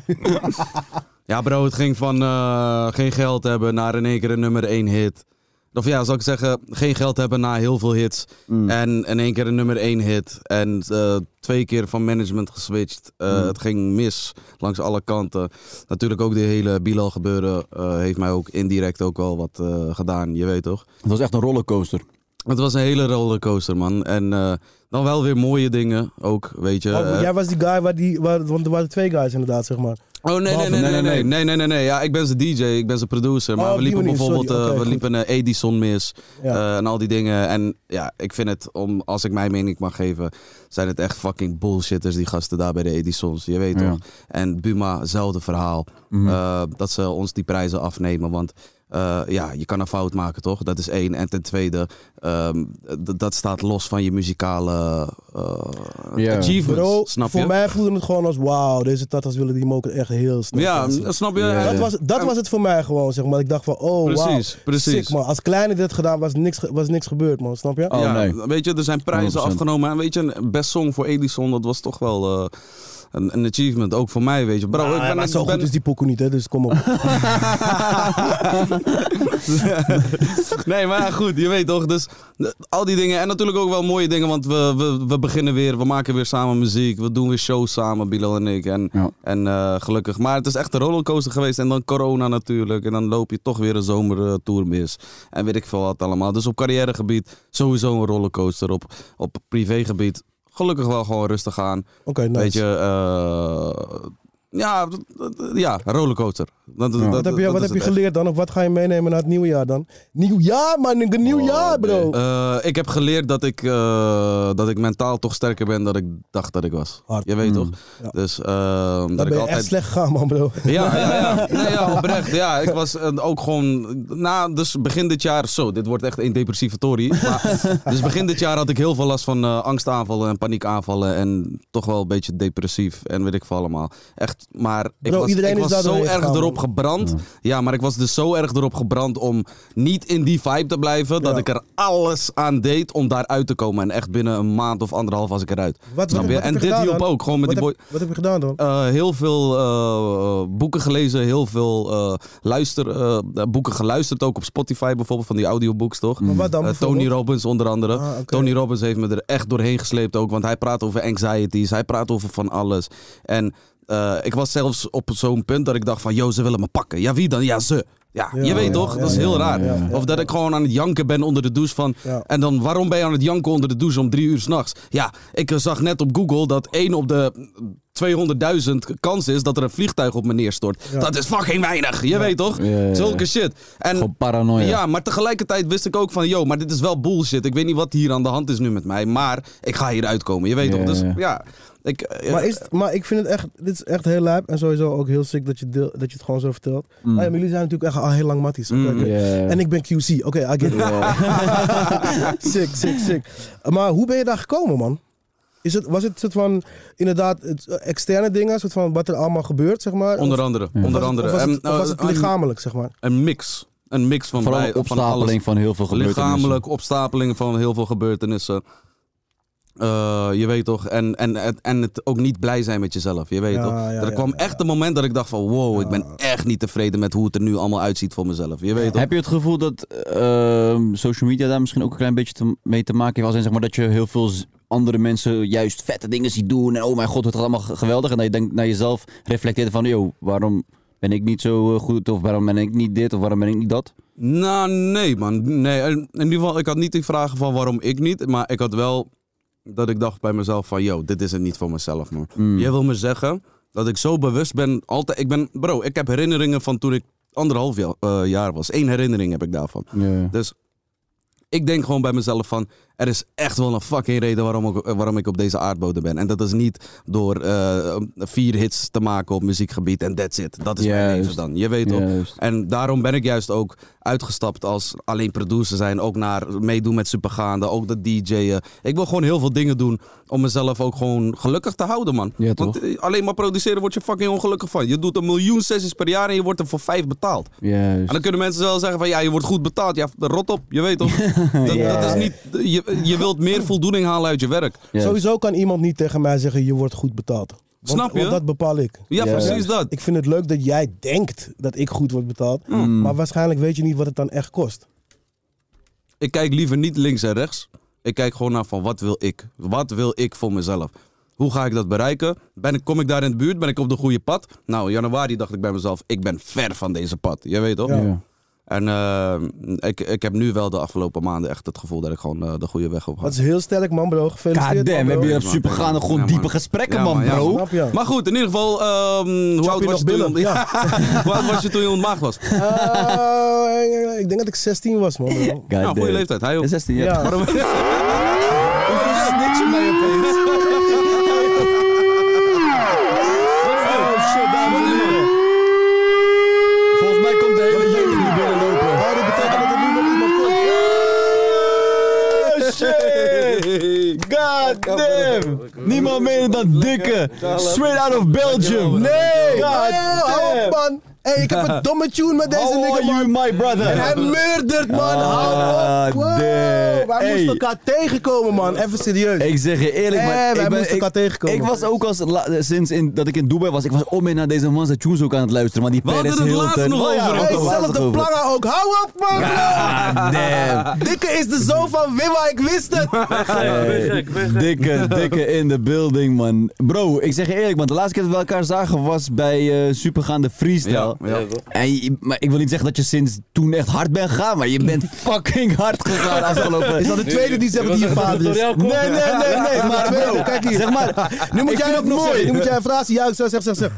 Ja, bro, het ging van eh, geen geld hebben naar in één keer een nummer één hit. Of ja, zou ik zeggen, geen geld hebben na heel veel hits. Mm. En in één keer een nummer één hit. En eh, twee keer van management geswitcht. Eh, Mm. Het ging mis langs alle kanten. Natuurlijk ook de hele Bilal gebeuren eh, heeft mij ook indirect ook wel wat eh, gedaan. Je weet toch? Het was echt een rollercoaster. Het was een hele rollercoaster, man. En eh, dan wel weer mooie dingen ook, weet je. Oh, Eh, jij was die guy waar die... Waar, want er waren twee guys inderdaad, zeg maar. Oh nee, nee, Behalve- nee, nee, nee, Nee, nee, nee, nee, nee, nee. Ja, ik ben zijn DJ, ik ben zijn producer. Maar Oh, op we die liepen manier, bijvoorbeeld, sorry. eh, Oké, we goed. liepen eh, Edison mis Ja. eh, en al die dingen. En ja, ik vind het, om, als ik mijn mening mag geven, zijn het echt fucking bullshitters die gasten daar bij de Edisons. Je weet Ja. toch? En Buma, hetzelfde verhaal. Mhm. Eh, dat ze ons die prijzen afnemen, want... eh, ja, je kan een fout maken, toch? Dat is één. En ten tweede, ehm, d- dat staat los van je muzikale eh, Ja. achievements. Bro, snap voor je? mij voelde het gewoon als... Wauw, deze tatas willen die moker echt heel snel. ja, dansen. snap je? Ja. Dat, was, dat En- was het voor mij gewoon, zeg maar. Ik dacht van, oh, Precies, wauw. precies. Sick, man. Als kleine dit gedaan, was niks, ge- was niks gebeurd, man. Snap je? Oh, ja, nee. weet je, er zijn prijzen 100%. afgenomen. En weet je, een best song voor Edison, dat was toch wel eh, een, een achievement. Ook voor mij, weet je. Bro, Ah, ik ben, maar ik zo ben- goed is die pokoe niet, hè. Dus kom op. nee, maar ja, goed, je weet toch. Dus eh, al die dingen. En natuurlijk ook wel mooie dingen, want we, we, we beginnen weer. We maken weer samen muziek. We doen weer shows samen, Bilal en ik. En, Ja. en eh, gelukkig. Maar het is echt een rollercoaster geweest. En dan corona natuurlijk. En dan loop je toch weer een zomertour mis. En weet ik veel wat allemaal. Dus op carrièregebied sowieso een rollercoaster. Op, op privégebied gelukkig wel gewoon rustig aan. Oké, nice. Weet je, eh, ja, d- d- ja, rollercoaster. Dat, dat, Wat heb je, dat wat heb is je het echt. geleerd dan? Of wat ga je meenemen naar het nieuwe jaar dan? Nieuw jaar, man. Een nieuw jaar, bro. Oh, Eh, ik heb geleerd dat ik, eh, dat ik mentaal toch sterker ben dan ik dacht dat ik was. Hard. Mm. Je weet toch? Ja. Dus ehm, dat Dan ben ik je altijd. echt slecht gegaan, man, bro. Ja, ja, ja. Nee, ja, oprecht. Ja, ik was eh, ook gewoon... Na, dus begin dit jaar... Zo, dit wordt echt een depressieve tory. Maar, dus begin dit jaar had ik heel veel last van eh, angstaanvallen en paniekaanvallen. En toch wel een beetje depressief en weet ik veel allemaal. Echt gestopt. Maar ik Bro, was, iedereen ik is was daar zo doorheen erg gegaan, erop man. gebrand. Ja. maar ik was dus zo erg erop gebrand om niet in die vibe te blijven. Dat Ja. ik er alles aan deed om daaruit te komen. En echt binnen een maand of anderhalf was ik eruit. Wat, Snap wat, je? wat heb en je dit gedaan hielp dan? ook. Gewoon met Wat die boy. heb, wat heb je gedaan dan? Eh, heel veel eh, boeken gelezen, heel veel eh, luister, eh, boeken geluisterd, ook op Spotify bijvoorbeeld, van die audiobooks toch? Maar wat dan Eh, Tony bijvoorbeeld? Robbins onder andere. Ah, oké. Tony Robbins heeft me er echt doorheen gesleept ook, want hij praat over anxieties, hij praat over van alles. En eh, ik was zelfs op zo'n punt dat ik dacht van, joh, ze willen me pakken. Ja, wie dan? Ja, ze. Ja, Ja, je weet ja, toch? ja, dat is ja, ja, heel raar. ja, ja, of dat ja. ik gewoon aan het janken ben onder de douche van... Ja. En dan, waarom ben je aan het janken onder de douche om drie uur s'nachts? Ja, ik eh, zag net op Google dat één op de 200.000 kans is dat er een vliegtuig op me neerstort. Ja. Dat is fucking weinig, je weet toch? Ja, ja, ja. Zulke shit. En Gewoon paranoia. ja, maar tegelijkertijd wist ik ook van, yo, maar dit is wel bullshit. Ik weet niet wat hier aan de hand is nu met mij, maar ik ga hier uitkomen, je weet Ja, toch? Dus ja. ja, ik... eh, Maar, is, het- maar ik vind het echt, dit is echt heel lijp en sowieso ook heel sick dat je, deel, dat je het gewoon zo vertelt. Mm. Ah ja, maar jullie zijn natuurlijk echt al heel lang matties. Oké, oké. Ja. En ik ben QC, oké, I get it. sick, sick, sick. Maar hoe ben je daar gekomen, man? Is het, was het soort van, inderdaad, het, eh, externe dingen, soort van wat er allemaal gebeurt, zeg maar? Onder andere, Of onder was het- andere. Of was, En, het, of eh, was het een- lichamelijk, zeg maar? Een mix. Een mix van, Vooral bij- een van alles. opstapeling van heel veel gebeurtenissen. Lichamelijk, opstapeling van heel veel gebeurtenissen. Eh, je weet toch, en, en, het- en het ook niet blij zijn met jezelf, je weet Ja, toch. ja, er ja, kwam ja, echt een moment dat ik dacht van wow, ik ben echt niet tevreden met hoe het er nu allemaal uitziet voor mezelf, je weet toch. Heb je het gevoel dat ehm, social media daar misschien ook een klein beetje te- mee te maken heeft? Als in, zeg maar, dat je heel veel z- andere mensen juist vette dingen ziet doen. En oh mijn god, het gaat allemaal ge- geweldig. En dat je denkt naar jezelf reflecteert van, joh, waarom ben ik niet zo eh, goed? Of waarom ben ik niet dit? Of waarom ben ik niet dat? Nou, nee man. Nee, eh, in, in ieder geval, ik had niet die vragen van waarom ik niet, maar ik had wel dat ik dacht bij mezelf van yo, dit is het niet voor mezelf man. Je wil me zeggen dat ik zo bewust ben, altijd, ik ben, bro, ik heb herinneringen van toen ik anderhalf jaar, eh, jaar was. Eén herinnering heb ik daarvan. Dus ik denk gewoon bij mezelf van, er is echt wel een fucking reden waarom ik, eh, waarom ik op deze aardbodem ben. En dat is niet door eh, vier hits te maken op muziekgebied en that's it. Dat is mijn Juist. leven dan. Je weet toch? Juist. En daarom ben ik juist ook uitgestapt als alleen producer zijn. Ook naar meedoen met supergaande, ook dat DJ'en. Ik wil gewoon heel veel dingen doen om mezelf ook gewoon gelukkig te houden, man. Ja, toch? Want eh, alleen maar produceren word je fucking ongelukkig van. Je doet een miljoen sessies per jaar en je wordt er voor vijf betaald. En Juist. dan kunnen mensen wel zeggen van ja, je wordt goed betaald. Ja, rot op, je weet toch? Dat, dat is niet, je, je wilt meer voldoening halen uit je werk. Juist. Sowieso kan iemand niet tegen mij zeggen, je wordt goed betaald. Want- Snap je? Want dat bepaal ik. Ja, Ja. precies dat. Ik vind het leuk dat jij denkt dat ik goed word betaald, Mm. maar waarschijnlijk weet je niet wat het dan echt kost. Ik kijk liever niet links en rechts. Ik kijk gewoon naar van wat wil ik? Wat wil ik voor mezelf? Hoe ga ik dat bereiken? Ben ik, kom ik daar in de buurt? Ben ik op de goede pad? Nou, in januari dacht ik bij mezelf, ik ben ver van deze pad. Je weet toch? Ja. En eh, ik, ik heb nu wel de afgelopen maanden echt het gevoel dat ik gewoon eh, de goede weg op ga. Dat is heel sterk, man, bro. Gefeliciteerd. God damn, man, we bro. hebben hier op man. supergaande gewoon Ja, man. diepe gesprekken, Ja, man, man, ja, bro. Snap je? Maar goed, in ieder geval, ehm, hoe oud je was je nog toen je billen? on- Ja. Hoe oud was je toen je ontmaagd was? Eh, ik denk dat ik 16 was, man. Bro. God Nou, goede damn. leeftijd. Hij ook. 16 jaar. Ja. Waarom- snitje mij opeens? Volgens mij komt de hele jeugd nu binnenlopen. Oh, dit betekent dat er nu nog iemand komt. God damn! Niemand minder dan Dikke! Straight out of Belgium! Nee! God Oh, hou op, damn! man. Hey, ik heb een domme tune met deze How nigger, are Oh, you, man. my brother? En hij murdert, man. Hou op. Ah, Wow, damn. Wij Hey. moesten elkaar tegenkomen, man. Even serieus. Ik zeg je eerlijk, Eh, maar wij ik, ben, moesten ik, elkaar tegenkomen. ik was ook als la- eh, sinds in, dat ik in Dubai was, ik was om en naar deze man zijn tunes ook aan het luisteren, maar die We hadden Paris het laatst Hilton. nog Oh ja, over, we ook hadden Hey, het over. zelfs laatst de nog over. plannen ook. Hou op, man. God damn! Dikke is de zoon van Wimma, ik wist het. Hey, dikke, dikke in de building, man. Bro, ik zeg je eerlijk, man. De laatste keer dat we elkaar zagen was bij eh Supergaande Freestyle. Ja, ja. En je- maar ik wil niet zeggen dat je sinds toen echt hard bent gegaan, maar je bent fucking hard gegaan afgelopen... Is dat de tweede die zegt dat hij je vader is? Nee, nee, nee, nee, maar bro, kijk hier. Zeg maar, Nu moet Ik jij vind ook het nog mooi. zeggen. Nu moet jij een frasie. Ja, ik zeg, zeg, zeg, zeg.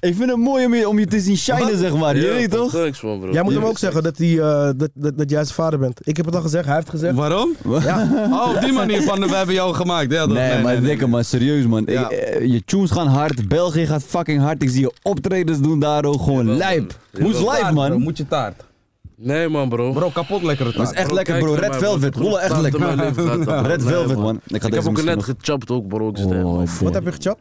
ik vind het mooi om je, om je te zien shinen, zeg maar. Je weet toch? Thanks, man, bro. Jij moet hem ook zeggen dat, hij, eh, dat, dat, dat jij zijn vader bent. Ik heb het al gezegd, hij heeft het gezegd. Waarom? Oh, op die manier van we hebben jou gemaakt. Ja, dat- Nee, maar dikke man, serieus man. Ik- Ja. eh, je tunes gaan hard, België gaat fucking hard. Ik zie je optredens doen daar ook gewoon lijp. Hoe is live Bro, man? moet je taart. Nee, man, bro. Bro, kapot lekkere Dat is taart. echt Bro, lekker kijk bro, naar Red mij, Velvet, bro. rollen echt Taart in lekker. mijn leven gaat dat, bro. Red Nee, Velvet man. Ik, ga Ik deze heb ook misschien net nog- gechapt ook, bro. Ik zit helemaal- Oh, Wat damn. heb je gechapt?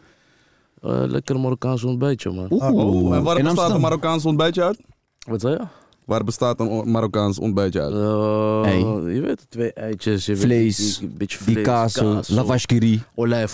Eh, lekker Marokkaans ontbijtje, man. Oeh. Oh, en waar in bestaat een Amsterdam. Marokkaans ontbijtje uit? Wat zei je? Waar bestaat een o- Marokkaans ontbijtje uit? Eh, Ei. Je weet het, twee eitjes. Je weet Vlees, die- die- een beetje vlees. Die kaas, lavash curry.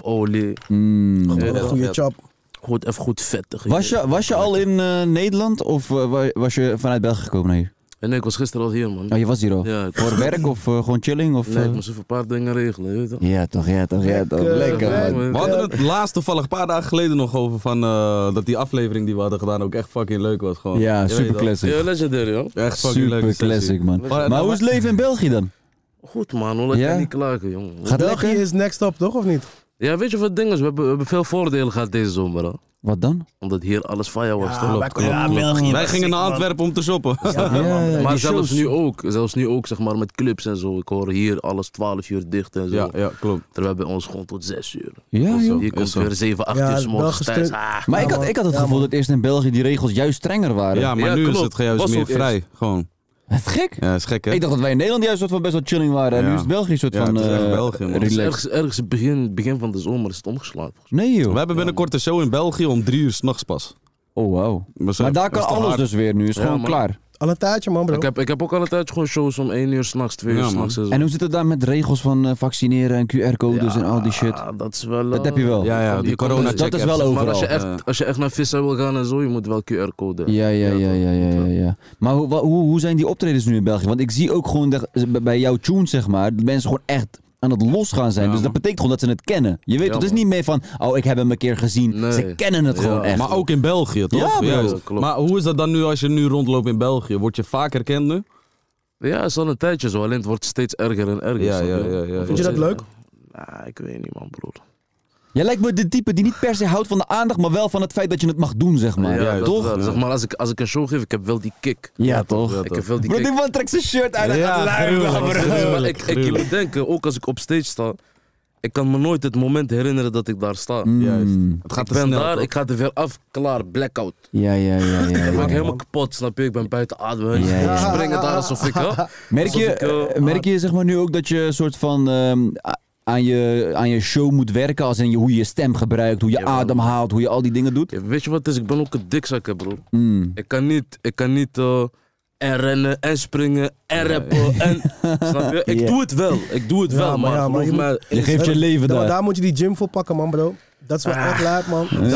Olijfolie. Mm. Ja, Goeie ja. chap. Goed, even goed vettig. je Was weet. je, was je al in eh, Nederland of eh, wa- was je vanuit België gekomen naar hier? En nee, ik was gisteren al hier, man. Oh, je was hier al. Ja, ik, Voor werk of eh, gewoon chilling? Of, nee, ik eh? moest even een paar dingen regelen, je weet toch? Ja, toch, ja, toch, ja, toch. Lekker, Lekker, Ja, man. man. We hadden het laatst toevallig een paar dagen geleden nog over van, eh, dat die aflevering die we hadden gedaan ook echt fucking leuk was. Gewoon. Je Ja, weet super dat. Ja, classic. legendary, hoor. Echt fucking leuk. Super classic, man. Maar, Maar hoe is het leven in België dan? Goed, man. Hoe laat Ja? je niet klagen, jongen. Gaat het België lekker? is next up, toch? Of niet? Ja, weet je wat het ding is? We hebben, we hebben veel voordelen gehad deze zomer, hoor. Wat dan? Omdat hier alles fireworks toch? klopt, klopt, klopt. Wij gingen naar Antwerpen om te shoppen. Ja, ja, Maar die zelfs shows. nu ook. Zelfs nu ook, zeg maar, met clubs en zo. Ik hoor hier alles 12 uur dicht en zo. Ja, ja, klopt. Terwijl bij ons gewoon tot 6 uur. Ja, joh. Hier komt zo. weer 7, 8 Ja, uur 's morgens Belgisch thuis. stuk. Ah. Maar ik Ja, had, man. ik had het Ja, gevoel man. dat eerst in België die regels juist strenger waren. Ja, maar Ja, nu is klopt. het juist Was meer ook eerst. vrij. Gewoon. Wat gek. Ja, is gek hè? Ik dacht dat wij in Nederland juist soort van best wel chilling waren. En Ja. nu is het België een soort Ja, van het is echt eh, België, man. Dus relaxed. ergens, ergens begin, begin van de zomer is het omgeslagen. volgens Nee We joh. hebben binnenkort een show in België om drie uur s'nachts pas. Oh wow. We zijn- Maar daar dat kan is toch alles hard? dus weer nu. Is Ja, gewoon man. klaar. Al een taartje, man, mij. bro. Ik heb, ik heb ook altijd gewoon shows om 1 uur s'nachts, 2 Ja, uur man. s'nachts. En hoe zit het dan met regels van eh, vaccineren en QR-codes en al die shit? Dat is wel... Dat eh, heb je wel. Ja, ja, Je die kan- corona dus dat is wel check-apps. overal. Maar als je, Ja. echt, als je echt naar Vissa wil gaan en zo, je moet wel QR-code. hebben. Ja, ja, ja, ja, ja, ja, ja. Maar hoe, wa- hoe, hoe zijn die optredens nu in België? Want ik zie ook gewoon dat- bij- bij jouw tune, zeg maar, dat mensen gewoon echt aan het losgaan zijn. Ja, dus dat man. betekent gewoon dat ze het kennen. Je weet, Ja, het is man. niet meer van, oh, ik heb hem een keer gezien. Nee. Ze kennen het gewoon Ja, echt. Maar ook in België, toch? Ja, bro. Juist. Klopt. Maar hoe is dat dan nu als je nu rondloopt in België? Word je vaak herkend nu? Ja, het is al een tijdje zo, alleen het wordt steeds erger en erger. Ja, snap je? ja, ja, ja, Vind je dat leuk? Nah, ik weet niet man broer. Jij lijkt me de type die niet per se houdt van de aandacht, maar wel van het feit dat je het mag doen, zeg maar. ja, dat toch? wel. Zeg maar, als ik, als ik een show geef, ik heb wel die kick. Ja, toch? Ik heb wel die Bro, kick. die man trekt zijn shirt uit en Ja, gaat luiden, gruwelijk, bro. Maar gruwelijk, ik, ik je gruwelijk. moet denken, ook als ik op stage sta, ik kan me nooit het moment herinneren dat ik daar sta. Mm. Juist. Het gaat ik te ben snel. daar, toch? ik ga er weer af, klaar, blackout. Ja, ja, ja, ja. Ik ja, ben ja. helemaal kapot, snap je? Ik ben buiten adem. hè. Ja, ja. Ik spring het daar alsof ik... Ja. Merk je, Alsof ik, eh, eh, merk je zeg maar, nu ook dat je een soort van ehm, a- aan, je, aan je show moet werken? Als in je, hoe je je stem gebruikt, hoe je Jawel. adem haalt, hoe je al die dingen doet? Ja, weet je wat het is? Ik ben ook een dikzak, hè, broer. Mm. Ik kan niet, ik kan niet eh, en rennen en springen en rappen en... Snap je? Ik Ja. doe het wel, ik doe het Ja, maar wel, maar, ja, maar geloof je moet- mij... Je geeft je leven daar. daar. daar moet je die gym voor pakken, man, bro. Dat is wel Ah. echt laat, man. Dat,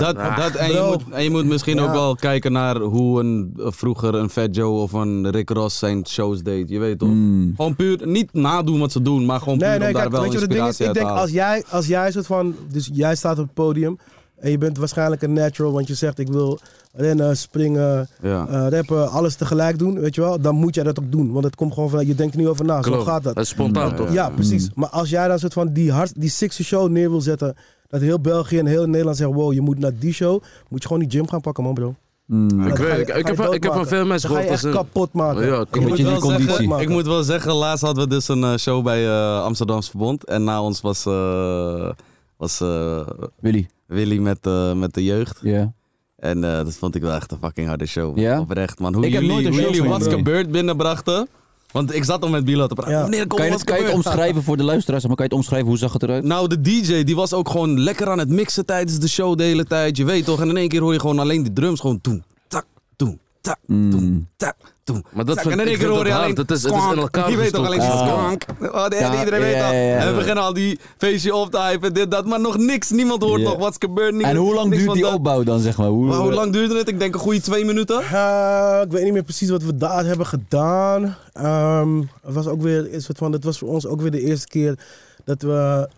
dat, dat, en, je Bro. moet, en je moet misschien Ja. ook wel kijken naar hoe een, eh, vroeger een Fat Joe of een Rick Ross zijn shows deed. Je weet toch? Gewoon puur, niet nadoen wat ze doen, maar gewoon puur Hmm. Nee, nee, om daar kijk, wel weet je wat het ding inspiratie is? Ik uit te denk, als halen. jij, als jij soort van, dus jij staat op het podium en je bent waarschijnlijk een natural, want je zegt ik wil rennen, springen, Ja. eh, rappen, alles tegelijk doen, weet je wel? Dan moet jij dat ook doen, want het komt gewoon van, je denkt er niet over na, zo Klopt. gaat dat. Dat is spontaan, toch? Ja, precies. Maar als jij dan soort van die, hard, die sixth show neer wil zetten, dat heel België en heel Nederland zegt, wow, je moet naar die show, moet je gewoon die gym gaan pakken, man, bro. Mm. Ik, Dan ga weet, je- ik, ga ik je heb, van- ik heb van doodmaken. veel mensen Dan ga je echt gehoord dat ze- kapot maken. Ja, Je moet Beetje wel die zeggen- conditie. ik moet wel zeggen, laatst hadden we dus een eh, show bij eh Amsterdams Verbond. En na ons was, eh, was eh, Willy. Willy met, eh, met de jeugd. Ja. En eh, dat vond ik wel echt een fucking harde show. man. Ja? Oprecht, man. Hoe Ik heb jullie, nooit een hoe show jullie van What's jullie. Gebeurd binnenbrachten. Want ik zat al met Bilo te praten. Ja. Meneer, kom, Kan je, What's het, kan je het Gebeurd? omschrijven voor de luisteraars? Maar kan je het omschrijven hoe zag het eruit? Nou, de DJ die was ook gewoon lekker aan het mixen tijdens de show de hele tijd. Je weet toch? En in één keer hoor je gewoon alleen die drums gewoon toen, tak, toen, tak, Hmm. toen, tak, toen. Maar dat tak. vind- en in één ik keer vind hoor je dat alleen hard. Het is- het is in squank. elkaar Je weet toch alleen gestoken. die Ah. skank. Oh, de- Ja, iedereen weet ja, dat. ja, ja. En we beginnen al die feestje op te hypen, dit, dat. Maar nog niks. Niemand hoort Ja. nog wat gebeurt. En hoe lang duurt die opbouw dan, zeg maar? Hoe, Maar hoe lang duurde het? Ik denk een goede twee minuten. Eh, ik weet niet meer precies wat we daar hebben gedaan. Ehm, het was ook weer een soort van, het was voor ons ook weer de eerste keer dat we,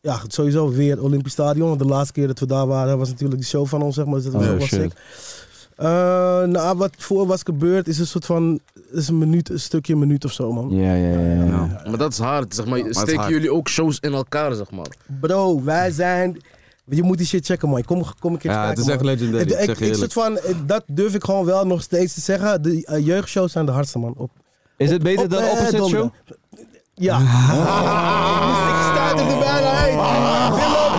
ja, sowieso weer Olympisch Stadion. Want de laatste keer dat we daar waren, was natuurlijk de show van ons, zeg maar. Dus dat was Oh, ook wel shit. sick. Eh, nou, wat voor was gebeurd is een soort van, is een minuut, een stukje, een minuut of zo, man. Ja, ja, ja. ja. Maar dat is hard, zeg maar. het is Steken hard. jullie ook shows in elkaar, zeg maar. Bro, wij zijn. Je moet die shit checken, man. Kom, kom een keer Ja, het kijken, is echt man. legendary, ik Ik, zeg je ik eerlijk. soort van, eh, dat durf ik gewoon wel nog steeds te zeggen. De eh, jeugdshows zijn de hardste, man. Op, Is het beter op, dan eh, opposite show? Ah. donderdag. Ja. Ah, Ah. Dus ik sta er bijna uit.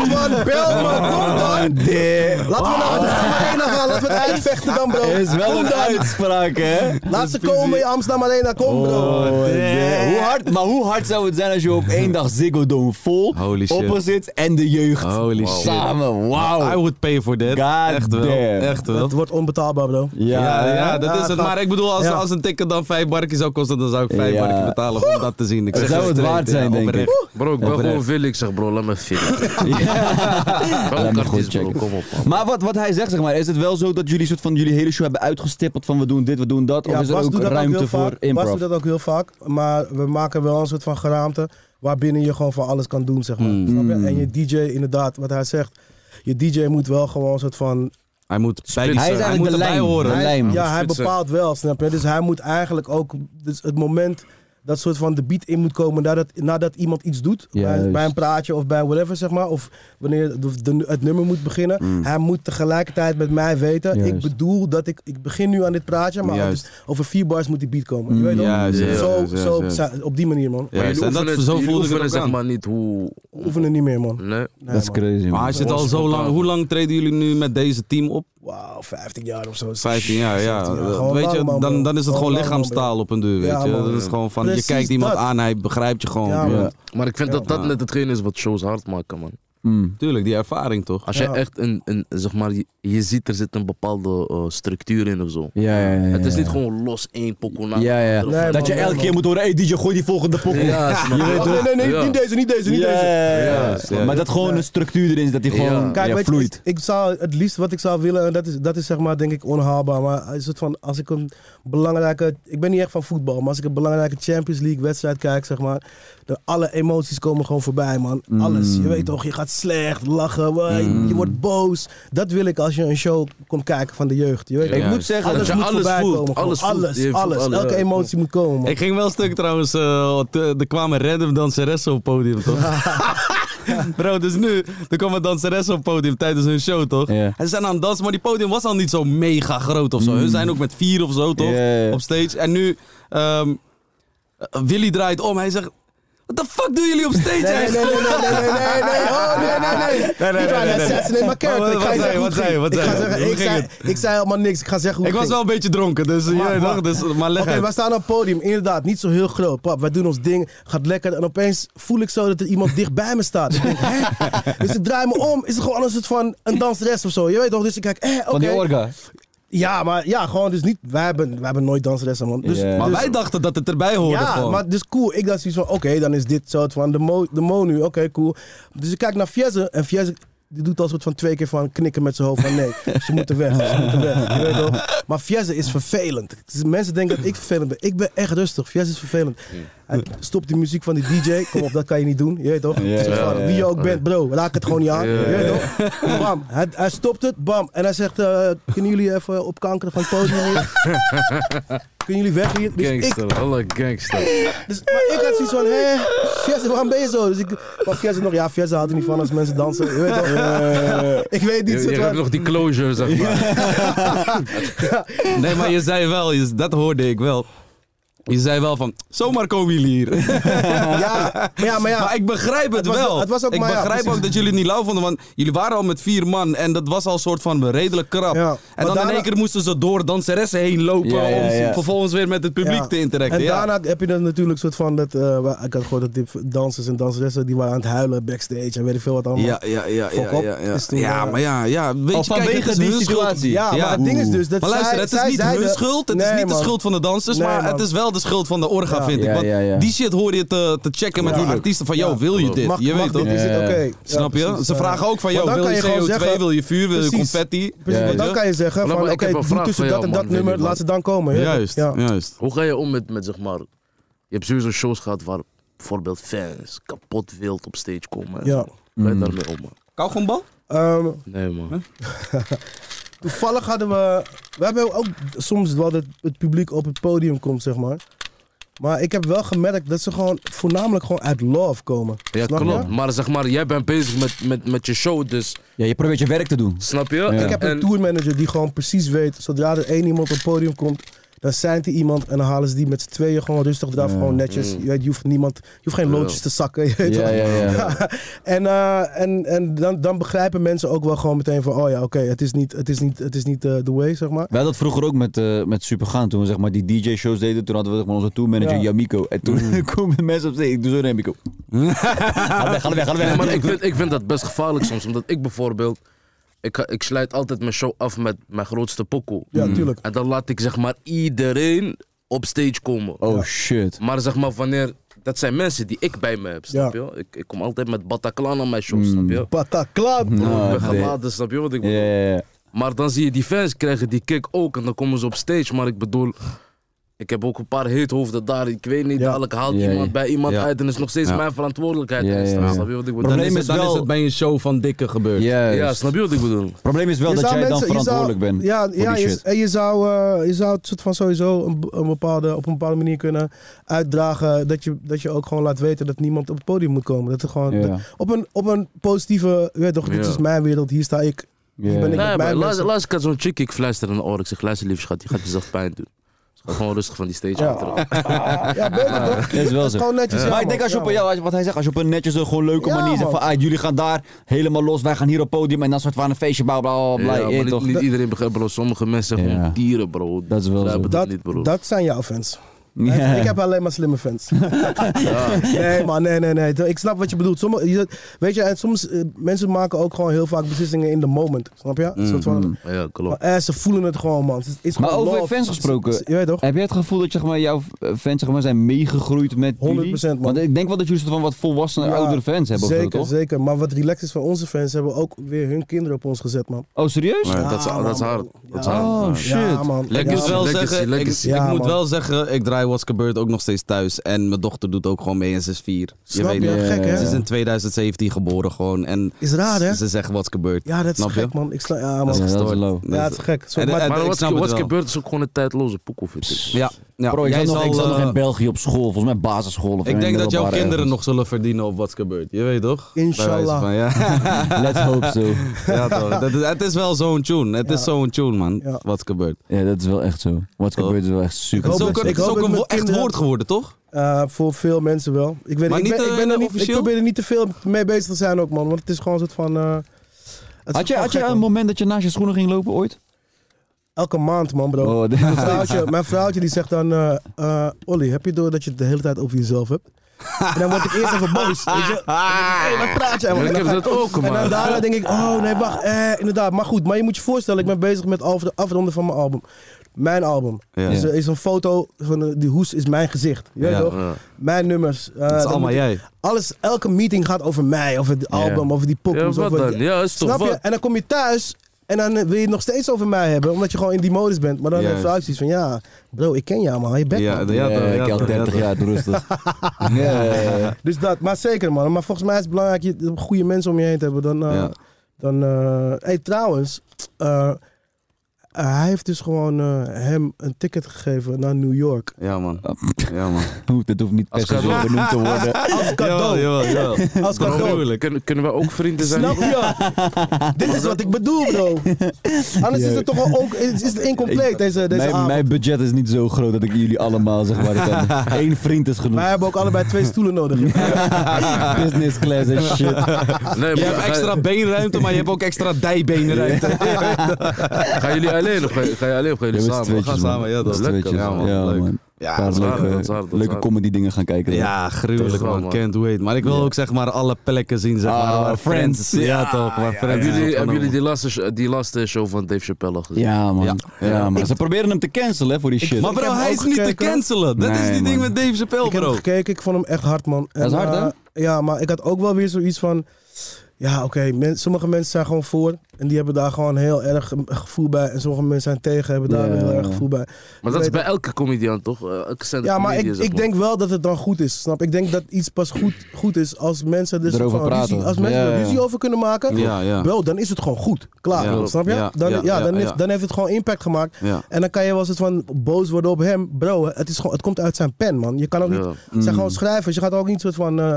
Willem, man, bel me. Kom dan. man, dit. Ah, Laten we nou naar Amsterdam Arena gaan. Laten we het uitvechten dan, bro. Is wel Kom een dan. uitspraak, hè? Laat ze komen in Amsterdam Arena. Kom, bro. Oh, damn. Hoe hard, maar hoe hard zou het zijn als je op één dag Ziggo Dome vol, Holy shit. opposites en de jeugd Holy shit. samen. I Wauw. would pay for that. Oh. God echt wel. damn. Echt wel. Het wordt onbetaalbaar, bro. Ja, ja, dat Ja, is het. gaat- Maar ik bedoel, als, ja. als een ticket dan vijf barkjes zou kosten, dan zou ik vijf Ja. barkjes betalen om dat te zien. Ik Dat zeg zou het straight, waard ja, zijn, denk ik. oprecht. Bro, ik ben Oprecht. gewoon wil. Ik zeg, bro, laat me filmen. Laat me Welke kant is, goed bro? checken. Kom op, man. Maar wat, wat hij zegt, zeg maar, is het wel zo dat jullie soort van jullie hele show hebben uitgestippeld van we doen dit, we doen dat? Ja, of is er Bas ook doet dat ruimte heel voor vaak. Bas improv? doet dat ook heel vaak, maar we maken wel een soort van geraamte waarbinnen je gewoon van alles kan doen, zeg maar. Mm. Snap je? En je DJ, inderdaad, wat hij zegt, je DJ moet wel gewoon een soort van... Hij moet bij die Hij is hij eigenlijk moet de erbij lijn. horen. De lijn. ja, hij spitsen. bepaalt wel, snap je? Dus hij moet eigenlijk ook dus het moment dat soort van de beat in moet komen nadat, nadat iemand iets doet, bij, Juist. bij een praatje of bij whatever, zeg maar. Of wanneer de- de- het nummer moet beginnen. Mm. Hij moet tegelijkertijd met mij weten, ik Juist. bedoel dat ik, ik begin nu aan dit praatje, maar Juist. Mm. over- over vier bars moet die beat komen. Je weet toch? Juist, juist, zo, juist, juist, zo, juist. zijn- op die manier, man. Ja, Jullie en dat, oefenen- zo jullie voelde ik het oefenen, ook zeg aan. maar niet hoe... We oefenen niet meer, man. Nee. Nee, Dat is man. crazy, Maar man. hij zit al zo lang. Hoe lang treden jullie nu met deze team op? Wauw, 15 jaar of zo. 15 jaar, ja. 15 jaar. Gewoon weet je, lang, man, dan, bro. dan is het gewoon lang, man, lichaamstaal op een duur, weet Ja, je. man. Dat is gewoon van, Precies je kijkt iemand dat. aan, hij begrijpt je gewoon. Ja, Ja. man. Maar ik vind dat dat net hetgeen is wat shows hard maken, man. Mm. Tuurlijk, die ervaring toch? Als Ja. jij echt een, een zeg maar, je, je ziet er zit een bepaalde eh, structuur in of zo. Ja, ja, ja, ja. Het is niet gewoon los één pokoe na. Ja, Nee, ja. dat man, je nee, elke man. keer moet horen, hey DJ, gooi die volgende pokken. Ja, snap je? Oh, nee, nee, nee, Ja. niet deze, niet deze, niet deze. Juist, juist. Maar dat gewoon een structuur erin is, dat die Ja. gewoon Kijk, ja, weet je, vloeit. ik, ik zou het liefst wat ik zou willen, en dat is, dat is zeg maar denk ik onhaalbaar. Maar is het van, als ik een belangrijke, ik ben niet echt van voetbal, maar als ik een belangrijke Champions League wedstrijd kijk, zeg maar, de, alle emoties komen gewoon voorbij, man. Alles, je weet toch, je gaat slecht, lachen, wa- je- je wordt boos. Dat wil ik als je een show komt kijken van de jeugd. Je weet, Ja. toch? Ik moet zeggen dat je moet alles voorbij voelt, komen, gewoon. alles voelt. alles, Je voelt alles. alles, elke ja. emotie moet komen, man. Ik ging wel stuk trouwens. eh, want, eh, er kwamen random danseressen op het podium, toch? Bro, dus nu, er kwamen danseressen op het podium tijdens hun show, toch? Ja. En ze zijn aan het dansen, maar die podium was al niet zo mega groot of zo. Mm. Hun zijn ook met vier of zo, toch? Ja, ja. Op stage. En nu, ehm, Willy draait om. Hij zegt, what the fuck doen jullie op stage Nee, nee, eigenlijk? nee, nee, nee, nee, nee, nee, oh, nee, nee, nee. nee, nee, Niet waar, nee, nee. assassinate my character. Maar Ik wat- ga je zeggen wat zei- hoe het wat zei- ging. Ik ga wat zei- zeggen, hoe ik ging zei- het? ik zei helemaal niks. Ik ga zeggen hoe Ik het was wel ging. een beetje dronken, dus, je Maar- weet toch, dus maar leg Oké, uit. we staan op het podium, inderdaad, niet zo heel groot. Pap, wij doen ons ding, gaat lekker. En opeens voel ik zo dat er iemand dicht bij me staat. Ik denk, hè? Dus ik draai me om, is het gewoon een soort van een danseres of zo. Je weet toch, dus ik kijk, eh, oké. Van die orga. Ja, maar ja, gewoon dus niet, wij hebben, wij hebben nooit danseressen, man. Dus, Ja. Maar dus- wij dachten dat het erbij hoorde ja, gewoon. maar dus cool. Ik dacht zoiets van, oké, dan is dit soort van de mo, de mo nu. Oké, cool. Dus ik kijk naar Fiesse en Fiesse die doet al soort van twee keer van knikken met zijn hoofd van nee, ze moeten weg, ze moeten weg. Je weet toch? Maar Fiesse is vervelend. Dus Mensen denken dat ik vervelend ben. Ik ben echt rustig. Fiesse is vervelend. Hij stopt die muziek van die DJ. Kom op, dat kan je niet doen. Je weet toch? Ja, Soort ja, van, ja. Wie je ook bent, bro, raak het gewoon niet aan. Ja, Je weet toch? Bam. Hij, hij stopt het, bam. En hij zegt, eh, kunnen jullie even opkankeren van het podium hier? kunnen jullie weg hier? Dus ik Gangster, alle gangster. dus, maar ik had zoiets van, hé, Fiesse, waarom ben je zo? Dus ik, maar Fiesse nog, ja, Fiesse houdt er niet van als mensen dansen. Je weet toch? Eh, ik weet Je, niet, soort je hebt van. nog die closure, zeg maar. Nee, maar je zei wel, je- dat hoorde ik wel. Je zei wel van, zomaar komen jullie hier. Ja, maar ja, maar ja. Maar ik begrijp Het het, was- wel. het was ook ik maar ja, begrijp precies. ook dat jullie het niet lauw vonden, want jullie waren al met vier man en dat was al een soort van redelijk krap. Ja, maar En dan in daarna- één keer moesten ze door danseressen heen lopen Ja, ja, ja. om vervolgens weer met het publiek ja. te interacten. En Ja. daarna heb je dan natuurlijk soort van dat, eh, waar- ik had gehoord dat die dansers en danseressen, die waren aan het huilen backstage en weet ik veel wat allemaal. ja, ja, ja, ja, Fok op, ja, ja. is toen, Ja, eh, maar ja, ja. Weet Al je, kijk, het vanwege is die hun schuld. situatie. Ja, Ja. maar het ding is dus dat Maar luister, zij, het is zij niet zeiden- hun schuld, het Nee, is niet man. de schuld van de dansers, Nee, maar man. het is wel de schuld van de orga, Ja. vind ik. Ja, Want ja, ja. die shit hoor je te, te checken met Ja. hun artiesten van, yo, Ja. wil je dit? Mag- je mag weet dit? toch? Is het Ja. oké? Snap je? Ja, precies, Ze eh. vragen ook van, Want joh, dan wil kan je gewoon CO2, zeggen- wil je vuur, wil je Precies. confetti? Precies, Ja, maar ja. dan kan je zeggen, Nou, van, maar oké, ik heb een doe vraag tussen voor dat jou, en dat man, nummer, Willy, laat ze dan komen. hè? Juist, Ja. juist. Hoe ga je om met, met, zeg maar... Je hebt sowieso shows gehad waar bijvoorbeeld fans kapot wild op stage komen. Ja. Mm. Ga je daarmee om, man? Kauwgombal? Ehm, Nee, man. Toevallig hadden we. We hebben ook soms wel dat het publiek op het podium komt, zeg maar. Maar ik heb wel gemerkt dat ze gewoon voornamelijk gewoon uit love komen. Ja, Snap je? klopt. Maar zeg maar, jij bent bezig met, met, met je show, dus... Ja, je probeert je werk te doen. Snap je? Ik heb een tourmanager die gewoon precies weet, zodra er één iemand op het podium komt, Dan zijn er iemand en dan halen ze die met z'n tweeën gewoon rustig eraf, Ja. Mm. gewoon netjes. Je, weet, je hoeft niemand, je hoeft geen Ja. loodjes te zakken. Je weet Ja, toch? ja, ja. en eh, en, en dan, dan begrijpen mensen ook wel gewoon meteen van, oh ja, oké, het is niet, het is niet, het is niet eh, the way, zeg maar. Wij hadden dat vroeger ook met, eh met Supergaan. Toen we zeg maar, die DJ-shows deden, toen hadden we zeg maar, onze tourmanager Ja. Jamiko. En toen komen mensen op zee. Ik doe zo naar Jamiko. Ga weg, ga weg, ga Nee, weg. maar ik vind, ik vind dat best gevaarlijk soms. Omdat ik bijvoorbeeld, ik, ga- ik sluit altijd mijn show af met mijn grootste pokoe. Ja, tuurlijk. En dan laat ik zeg maar iedereen op stage komen. Oh shit. Maar zeg maar wanneer, dat zijn mensen die ik bij me heb, snap je? Ik, ik kom altijd met Bataclan aan mijn show, snap je? Bataclan. ik Nou, ben nee. geladen, snap je wat ik Ja, bedoel? ja, ja. Maar dan zie je die fans krijgen die kick ook en dan komen ze op stage. Maar ik bedoel, ik heb ook een paar heethoofden daar. Ik weet niet, Ja. dadelijk haalt Ja, iemand ja. bij iemand Ja. uit en is nog steeds Ja. mijn verantwoordelijkheid. Ja, ja, Snap je? ja. Snap je wat ik Dan, bedoel? Probleem is het, is dan wel- is het bij een show van dikke gebeurd. Ja, Juist. snap je wat ik bedoel? Het probleem is wel dat zou jij dan mensen- je zou- verantwoordelijk bent. Ja, voor ja die je, shit. en je zou, eh, je zou het soort van sowieso een, een bepaalde, op een bepaalde manier kunnen uitdragen. Dat je, dat je ook gewoon laat weten dat niemand op het podium moet komen. Dat er gewoon, Ja. dat- op, een, op een positieve, je weet toch, dit Ja. is mijn wereld, hier sta ik. Ja. Hier ben ik met Nee, maar mijn laatst, mensen. laatst ik had zo'n chick, ik fluister in de oor. Ik zeg, luister lief schat, je gaat jezelf pijn doen. Ze gaat gewoon rustig van die stage Ja. af. Ja, beter toch? Dat is wel zo. Gewoon netjes. ja, maar ik man. denk als je Ja, op een, man. ja, als- wat hij zegt, als je op een netjes eh, gewoon leuke Ja, manier zegt van man. ah, jullie gaan daar helemaal los, wij gaan hier op podium en dan soort van een feestje, bla bla bla. bla, Ja, eh, maar niet, toch? niet iedereen begrijpt, bro. Sommige mensen zijn Ja. gewoon dieren, bro. Dat is wel Ze zo. hebben dat, Dat, niet, bro. dat zijn jouw fans. Ja. Ik heb alleen maar slimme fans. Nee, man, nee, nee, nee. Ik snap wat je bedoelt. Sommige, je- weet je, en soms eh, mensen maken ook gewoon heel vaak beslissingen in the moment. Snap je? Een soort van, ja, Oh, klopt. Maar, eh, ze voelen het gewoon, man. Het is- is Maar gewoon over love. fans Het is- gesproken. het is- Je weet toch? Heb jij het gevoel dat zeg maar, jouw eh, fans zeg maar, zijn meegegroeid met 100% jullie? man. Want ik denk wel dat jullie soort van wat volwassene, Ja, oudere fans hebben. of zo, Zeker, toch? zeker. Maar wat relaxed is van onze fans, hebben ook weer hun kinderen op ons gezet, man. Oh, serieus? Ja, dat, is, Ja, dat is man. hard. Dat is Ja. hard. Oh, Ja. shit. Ja, man. Ik Ja, moet wel Legacy, zeggen, legacy. ik, ik Ja, moet man. wel zeggen, ik draai What's Gebeurd ook nog steeds thuis. En mijn dochter doet ook gewoon mee en ze is vier. Snap je? nog. eh, Gek, hè? Ze is in 2017 geboren gewoon. En Is raar, hè? ze zegt What's Gebeurd. Ja, dat is Snap je? gek, man. Ik sla... Ja, Dat man. is Ja, dat is eh, gestoord. low. Ja, het is gek. Zo, En- maar- en- Maar ik wat, snap het wat wel. gebeurt is ook gewoon een tijdloze poekoe, vind ik. Ja, ja. Bro, ik Jij zat, nog, ik zal, zat nog eh, in België op school, volgens mij basisschool. Of Ik denk dat jouw kinderen nog zullen verdienen op What's Gebeurd. Je weet toch? Bij wijze Inshallah. van, ja. nog. Let's hope so. ja, toch. Dat is, het is wel zo'n tune. Het is zo'n tune, man. Ja. What's Gebeurd. Ja, dat is wel echt zo. What's Toch? gebeurd is wel echt Het super. is hoop ook dat- een, ik het is hoop dat ook een mijn wo- echt kinderen- woord geworden, toch? eh, voor veel mensen wel. Ik, weet, Maar ik, niet, ben, eh, ik, ben er niet, ik officieel? probeer er niet te veel mee bezig te zijn ook, man. Want het is gewoon een soort van... eh, het is Had je, gewoon had je gek, een man. moment dat je naast je schoenen ging lopen ooit? Elke maand, man, bro. Oh, Mijn vrouwtje, mijn vrouwtje die zegt dan, eh eh, Olly, heb je door dat je het de hele tijd over jezelf hebt? En dan word ik eerst even boos, weet je. Hé, wat praat jij? man? Ja, ik En dan heb ga dat ook, En man. dan daarna denk ik, oh nee, wacht, eh, inderdaad. Maar goed, maar je moet je voorstellen, ik ben bezig met af- de afronden van mijn album. Mijn album. Ja. Dus er is een foto van eh, die hoes is mijn gezicht. Je weet Ja, toch? ja. Mijn nummers. eh, Het is dan allemaal moet ik- jij. Alles, elke meeting gaat over mij, over het album, over die Ja, poppers. wat over dan? Ja, is toch Snap je? wat? En dan kom je thuis en dan eh, wil je het nog steeds over mij hebben, omdat je gewoon in die modus bent. Maar dan Juist. heeft vrouw zoiets van, ja, bro, ik ken jou man, je bek Ja, man. de- ja, Ja, toch, ja, ik al toch, ja, 30 toch. jaar, doe rustig. Ja, ja, ja, ja. Dus dat, maar zeker man. Maar volgens mij is het belangrijk je goede mensen om je heen te hebben. Dan, eh, Ja. dan eh, hey, trouwens, eh, hij heeft dus gewoon eh, hem een ticket gegeven naar New York. Ja, man. Ja, man. Hoeft- Dat hoeft niet per Als se zo cadeau. benoemd te worden. Als cadeau. Jawel, jawel, jawel. Als cadeau. Gruwelijk. Kunnen, kunnen wij ook vrienden zijn? Snap je? Dit is wat ik bedoel, bro. Anders is het toch wel on- is, is het incompleet, deze, deze Mijn, avond. mijn budget is niet zo groot dat ik jullie allemaal zeg maar kan. Eén vriend is genoeg. Wij hebben ook allebei twee stoelen nodig. Business class en shit. Nee, Je maar hebt ga- extra beenruimte, maar je hebt ook extra dijbeenruimte. Gaan jullie alleen of ga, ga je alleen of gaan Ja, jullie met z'n samen? tweetjes, gaan samen, ja, man. dat Met is z'n lekker, tweetjes, ja, man, Ja, leuk. man. Ja, Een paar dat is waar, leuke- dat is waar, dat is Leuke waar. comedy dingen gaan kijken. dan. Ja, gruwelijk Toch wel, man. man. Can't wait. Maar ik wil ook zeg maar alle plekken zien, zeg maar. Ah, waar Friends. friends. Ja, toch. Waar friends. Hebben jullie, Ja. hebben jullie die, laatste, sh- die laatste show van Dave Chappelle gezien? Ja, man. Ja, Ja. man. Ze proberen hem te cancelen hè, voor die shit. Maar Ik heb bro, hem hij ook is niet te gekeken. cancelen. Dat is Nee, die ding man. met Dave Chappelle, Ik heb bro. hem gekeken, ik vond hem echt hard, man. En, is hard, hè? eh, ja, maar ik had ook wel weer zoiets van... Ja, oké, men- sommige mensen zijn gewoon voor. En die hebben daar gewoon heel erg een gevoel bij. En sommige mensen zijn tegen, hebben daar Ja. heel erg gevoel bij. Maar dat is bij elke comedian toch? Eh, Elke stand Ja, maar ik, ik denk wel dat het dan goed is, snap? Ik denk dat iets pas goed, goed is als mensen er Erover van ruzie, praten. als mensen Ja, er ja. ruzie over kunnen maken. Ja, ja. Bro, dan is het gewoon goed. Klaar, Ja, snap je? ja, Dan, ja, ja, ja, dan, heeft, ja. dan heeft het gewoon impact gemaakt. Ja. En dan kan je wel eens van boos worden op hem. Bro, het, is gewoon, het komt uit zijn pen, man. Je kan ook niet... Ja. Het zijn gewoon schrijvers. Je gaat ook niet soort van... eh,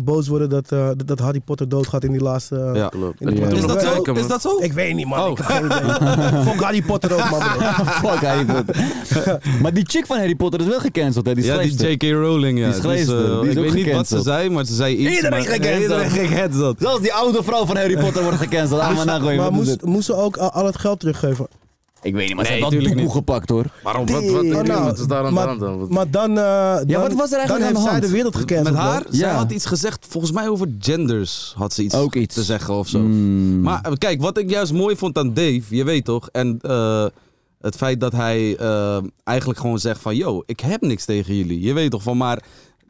boos worden dat, eh, dat- dat Harry Potter doodgaat in die laatste... eh, Ja. Klopt. in die- Ja. Is dat zo? Kijken, man. Is dat zo? Ik weet niet, man. Oh. Ik heb geen idee. Fuck Harry Potter ook, man. bro. Fuck Harry Potter. maar die chick van Harry Potter is wel gecanceld, hè? Die Ja, die schrijfster. J.K. Rowling, ja. Die is gelezen, eh, die is ik weet niet ook wat ze gecanceld. zei, maar ze zei iets. Iedereen maar- gecanceld. Iedereen gecanceld. Zelfs die oude vrouw van Harry Potter wordt gecanceld. Ah, maar nagooien, Maar wat is moest, dit? moest ze ook al, al het geld teruggeven? Ik weet niet, maar ze Nee, heeft wel tuurlijk doekoe niet. gepakt, hoor. Waarom? Wat, wat, Oh, nou, wat is daar aan de maar- hand dan? Wat- Maar dan, eh, dan- wat was er eigenlijk dan aan de heeft zij hand? de wereld gekend. Met haar, zij Ja. had iets gezegd, volgens mij over genders had ze iets, Ook iets. te zeggen of zo. Mm. Maar eh, kijk, wat ik juist mooi vond aan Dave, je weet toch, en eh, het feit dat hij eh, eigenlijk gewoon zegt van, yo, ik heb niks tegen jullie. Je weet toch van, maar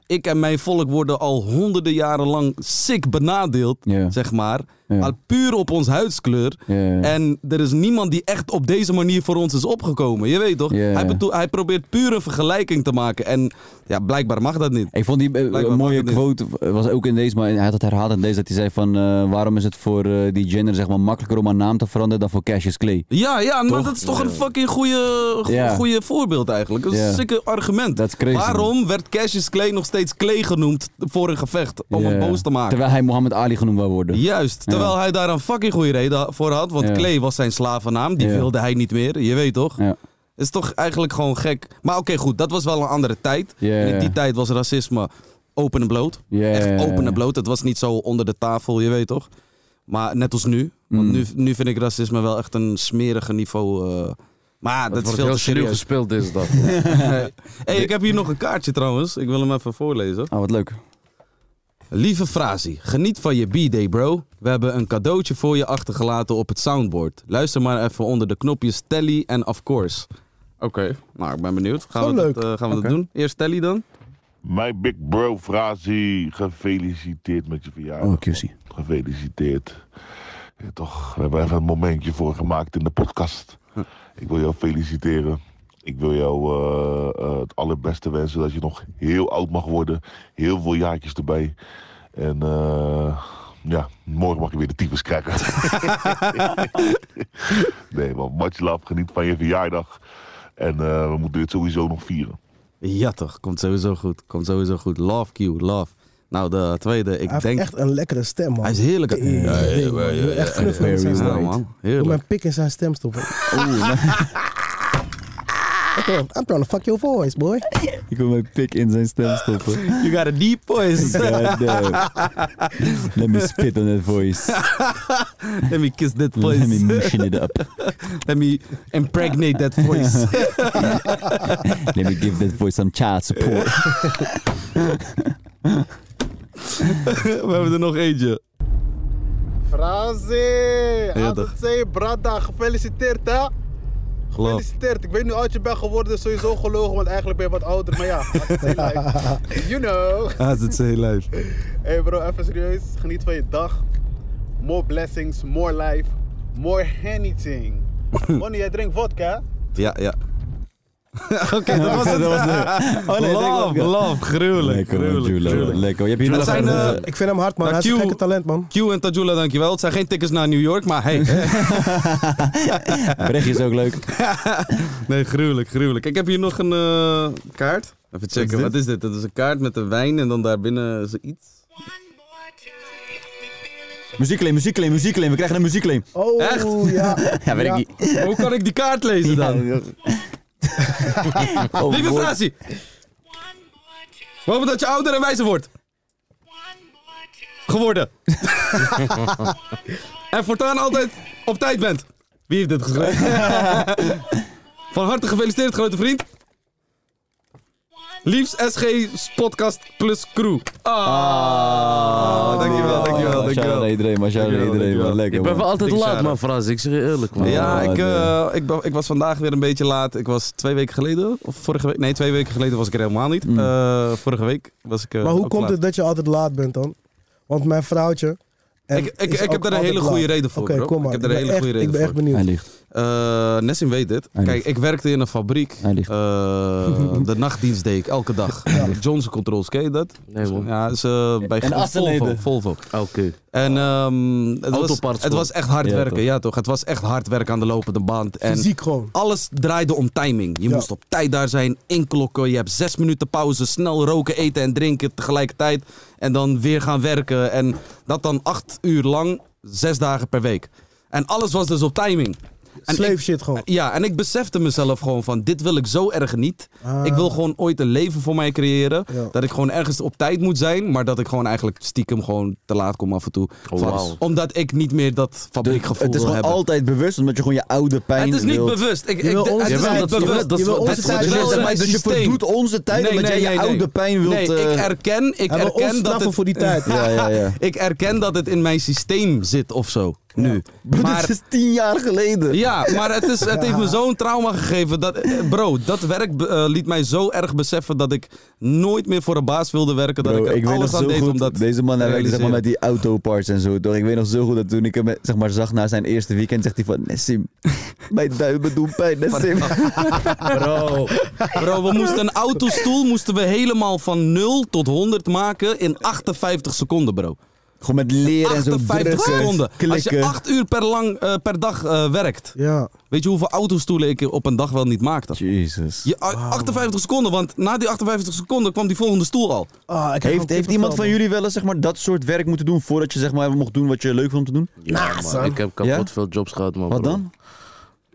ik en mijn volk worden al honderden jaren lang sick benadeeld, Ja. zeg maar. Ja. Al puur op ons huidskleur. Ja, ja, ja. En er is niemand die echt op deze manier voor ons is opgekomen. Je weet toch? Ja, ja. Hij, beto- hij probeert puur een vergelijking te maken. En ja, blijkbaar mag dat niet. Ik vond die eh, Blijkbaar mooie mag het quote, eh, was ook in deze, maar hij had het herhaald in deze, dat hij zei van eh, waarom is het voor eh, die gender zeg maar, makkelijker om haar naam te veranderen dan voor Cassius Clay. Ja, ja, maar dat is toch een fucking goede, go- Ja. goede voorbeeld eigenlijk. Dat is Ja. een sikke argument. Dat is crazy. Waarom werd Cassius Clay nog steeds Clay genoemd voor een gevecht om Ja. hem boos te maken? Terwijl hij Mohammed Ali genoemd wil worden. Juist, terwijl hij daar een fucking goede reden voor had. Want Ja. Clay was zijn slavennaam, die Ja. wilde hij niet meer, je weet toch? Ja. Is toch eigenlijk gewoon gek. Maar oké, goed, dat was wel een andere tijd. Ja. En in die tijd was racisme open en bloot. Ja. Echt open en bloot. Het was niet zo onder de tafel, je weet toch? Maar net als nu. Want Mm. nu, nu vind ik racisme wel echt een smerige niveau. eh. maar dat, Het is wordt veel heel te serieus serieus. gespeeld deze dag. hey, ik heb hier nog een kaartje trouwens. Ik wil hem even voorlezen. Oh, wat leuk. Lieve Frazi, geniet van je B-Day, bro. We hebben een cadeautje voor je achtergelaten op het soundboard. Luister maar even onder de knopjes Telly en Of Course. Oké, nou ik ben benieuwd. Gaan Oh, we, leuk. Dat, eh, gaan we dat doen? Eerst Telly dan? Mijn big bro Frazi, gefeliciteerd met je verjaardag. Oh, QC. Gefeliciteerd. Ja, toch, we hebben even een momentje voor gemaakt in de podcast. Ik wil jou feliciteren. Ik wil jou eh, eh, het allerbeste wensen dat je nog heel oud mag worden. Heel veel jaartjes erbij. En eh, ja, morgen mag je weer de tyfus krijgen. nee man, much love. Geniet van je verjaardag. En eh, we moeten dit sowieso nog vieren. Ja toch, komt sowieso goed. Komt sowieso goed. Love Q, love. Nou, de tweede, ik Hij denk... heeft echt een lekkere stem, man. Hij is heerlijk. Ja, ja, ja, ja, ja, ja. Echt gruffig Very in zijn stem. well, man. Doe Heerlijk. mijn pik in zijn stem stoppen. Oké, I'm trying to fuck your voice, boy. Ik wil mijn pik in zijn stem stoppen. You got a deep voice. God damn. Let me spit on that voice. Let me kiss that Let me voice. motion it up. Let me impregnate that voice. Let me give that voice some child support. We hebben er nog eentje. Frazi, Ja, toch. AZC, Brada, gefeliciteerd hè. Love. Gefeliciteerd. Ik weet nu hoe oud je bent geworden, is sowieso gelogen, want eigenlijk ben je wat ouder. Maar ja, AZC live. You know. AZC live. Hey bro, even serieus. Geniet van je dag. More blessings, more life, more anything. Wanneer jij drinkt vodka, Ja, ja. Oké, dat was het. Oh, Love, love. Gruwelijk, Lekker, man, gruwelijk, Jula. gruwelijk. Lekker. Je hebt hier Dat nog zijn, een, eh, eh, Ik vind hem hard, man. Nou, Hij is een Q- gekke talent, man. Q en Tajula, dankjewel. Het zijn geen tickets naar New York, maar hey. eh, Brechtje is ook leuk. Nee, gruwelijk, gruwelijk. Ik heb hier nog een eh, kaart. Even checken, wat is dit? Dat is een kaart met een wijn en dan daarbinnen zoiets. Muziekclaim, muziekclaim, muziekclaim. We krijgen een muziekclaim. Oh, Echt? ja. Ja, weet Ja. ik niet. Hoe kan ik die kaart lezen dan? Oh, Ah, Lieve woord. Frazi, we hopen dat je ouder en wijzer wordt. Geworden. en voortaan altijd op tijd bent. Wie heeft dit geschreven? Van harte gefeliciteerd, grote vriend. Liefst SG's podcast plus crew. Ah, dankjewel, dankjewel, Maar shout-out naar dankjewel. iedereen, maar shout-out naar Dankjewel, iedereen. dankjewel. man. Ik Lekker, ben wel man. altijd Ik laat zou- man, Frans. Ik zeg je eerlijk Ah, man. Ja, Oh, ik, nee. eh, ik, ben- ik was vandaag weer een beetje laat. Ik was twee weken geleden, of vorige week, nee, twee weken geleden was ik er helemaal niet. Eh, vorige week was ik. eh, Mm. Maar hoe ook komt laat. het dat je altijd laat bent dan? Want mijn vrouwtje... eh, Ik, ik, is ik heb ook daar een altijd hele goede laat. reden voor. Oké, bro. kom maar. Ik heb daar een ben hele echt- goede reden Ik ben echt voor. Hij benieuwd. ligt. Eh Nessim weet dit. Hij Kijk, ligt. ik werkte in een fabriek. Hij ligt. Eh, de nachtdienst deed ik elke dag. Johnson Controls, ken je dat? Nee, man. Ja, is, eh, bij En Volvo. Assenleden. Volvo. Oké. En ehm, het, was, Autoparts, het toch? was echt hard Ja, werken, toch? ja toch? Het was echt hard werken aan de lopende band. En Fysiek gewoon. alles draaide om timing. Je Ja. moest op tijd daar zijn, inklokken. Je hebt zes minuten pauze, snel roken, eten en drinken tegelijkertijd. En dan weer gaan werken. En dat dan acht uur lang, zes dagen per week. En alles was dus op timing. En Slave ik- shit gewoon. ja, en ik besefte mezelf gewoon van, dit wil ik zo erg niet. Ah. Ik wil gewoon ooit een leven voor mij creëren. Ja. Dat ik gewoon ergens op tijd moet zijn, maar dat ik gewoon eigenlijk stiekem gewoon te laat kom af en toe. Oh, Van- wauw. Omdat ik niet meer dat fabriekgevoel Dus Het is wil gewoon hebben. altijd bewust, omdat je gewoon je oude pijn het is niet wilt- bewust. Je Ik, ik, wil onze het is tijd- niet je wil- bewust. je wil Dat- onze dat- tijd- dat- Dus- dat- maar dat- dus je systeem. verdoet onze tijd Nee, omdat nee, jij je nee, nee. oude pijn wilt... Nee, ik eh, erken, ik Hij wil ons erken dat straffen het... voor die tijd. Ja, ja, ja. Ik erken dat het in mijn systeem zit of zo, nu. Bro, dit is tien jaar geleden. Ja, maar het, is, het heeft me zo'n trauma gegeven. Dat, eh, bro, dat werk eh, liet mij zo erg beseffen dat ik nooit meer voor een baas wilde werken. Dat Bro, ik er weet nog alles aan zo deed goed, om dat Deze man hij te werkte zeg maar, realiseren. met die autoparts en zo. Toch? Ik weet nog zo goed dat toen ik hem zeg maar, zag na zijn eerste weekend, zegt hij van... Nessim, mijn duimen doen pijn, Nessim. Bro, bro, we moesten een autostoel moesten we helemaal van 0 tot 100 maken in 58 seconden, bro. Gewoon met leren en zo 58 drukken, seconden. Als je klikken. 8 uur per, lang, eh, per dag eh, werkt, Ja. weet je hoeveel autostoelen ik op een dag wel niet maakte? Jezus. Je, 58 seconden, want na die 58 seconden kwam die volgende stoel al. Ah, ik heb gewoon Heeft, heeft iemand van kippenvel, jullie wel eens zeg maar, dat soort werk moeten doen voordat je zeg maar, mocht doen wat je leuk vond om te doen? Ja, man, son. Ik heb kapot Ja? veel jobs gehad, man. Wat bro. dan?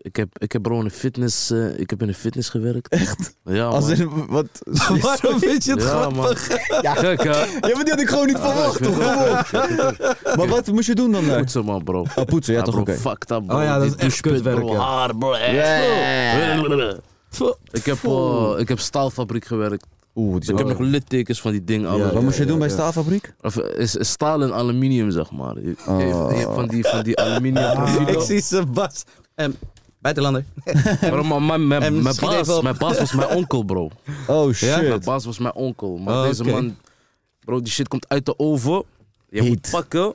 Ik heb, ik heb bro in een fitness, eh, ik heb in een fitness gewerkt. Echt? Ja, man. Als in, wat? Oh, Waarom vind je het Ah, ja, grappig? man. Ja, gek, hè? Ja, maar die had ik gewoon niet Ja, verwacht. ik weet het ook, ik weet het ook. Maar wat moest je doen dan daar? Poetsen, man, bro. Oh, poetsen, ja, toch, bro, oké. Fuck dat, bro. Oh ja, dat Die is echt doucheput, kutwerk, bro. ja. Haar, bro. echt, bro. Ik heb, eh, ik heb staalfabriek gewerkt. Oeh, Dus ik heb nog littekens van die ding. allemaal. Wat moest je doen bij staalfabriek? Of, eh, is, is staal en aluminium, zeg maar. Je, je- je hebt van die, van die aluminium Ik profielen. zie Sebas. Um, Buitenlander. Bro, maar mijn, mijn, En mijn, misschien baas, even- mijn baas was mijn onkel, bro. Oh Mijn shit. baas was mijn onkel. Maar Oh, deze oké. man, bro, die shit komt uit de oven. Je moet Heet. pakken,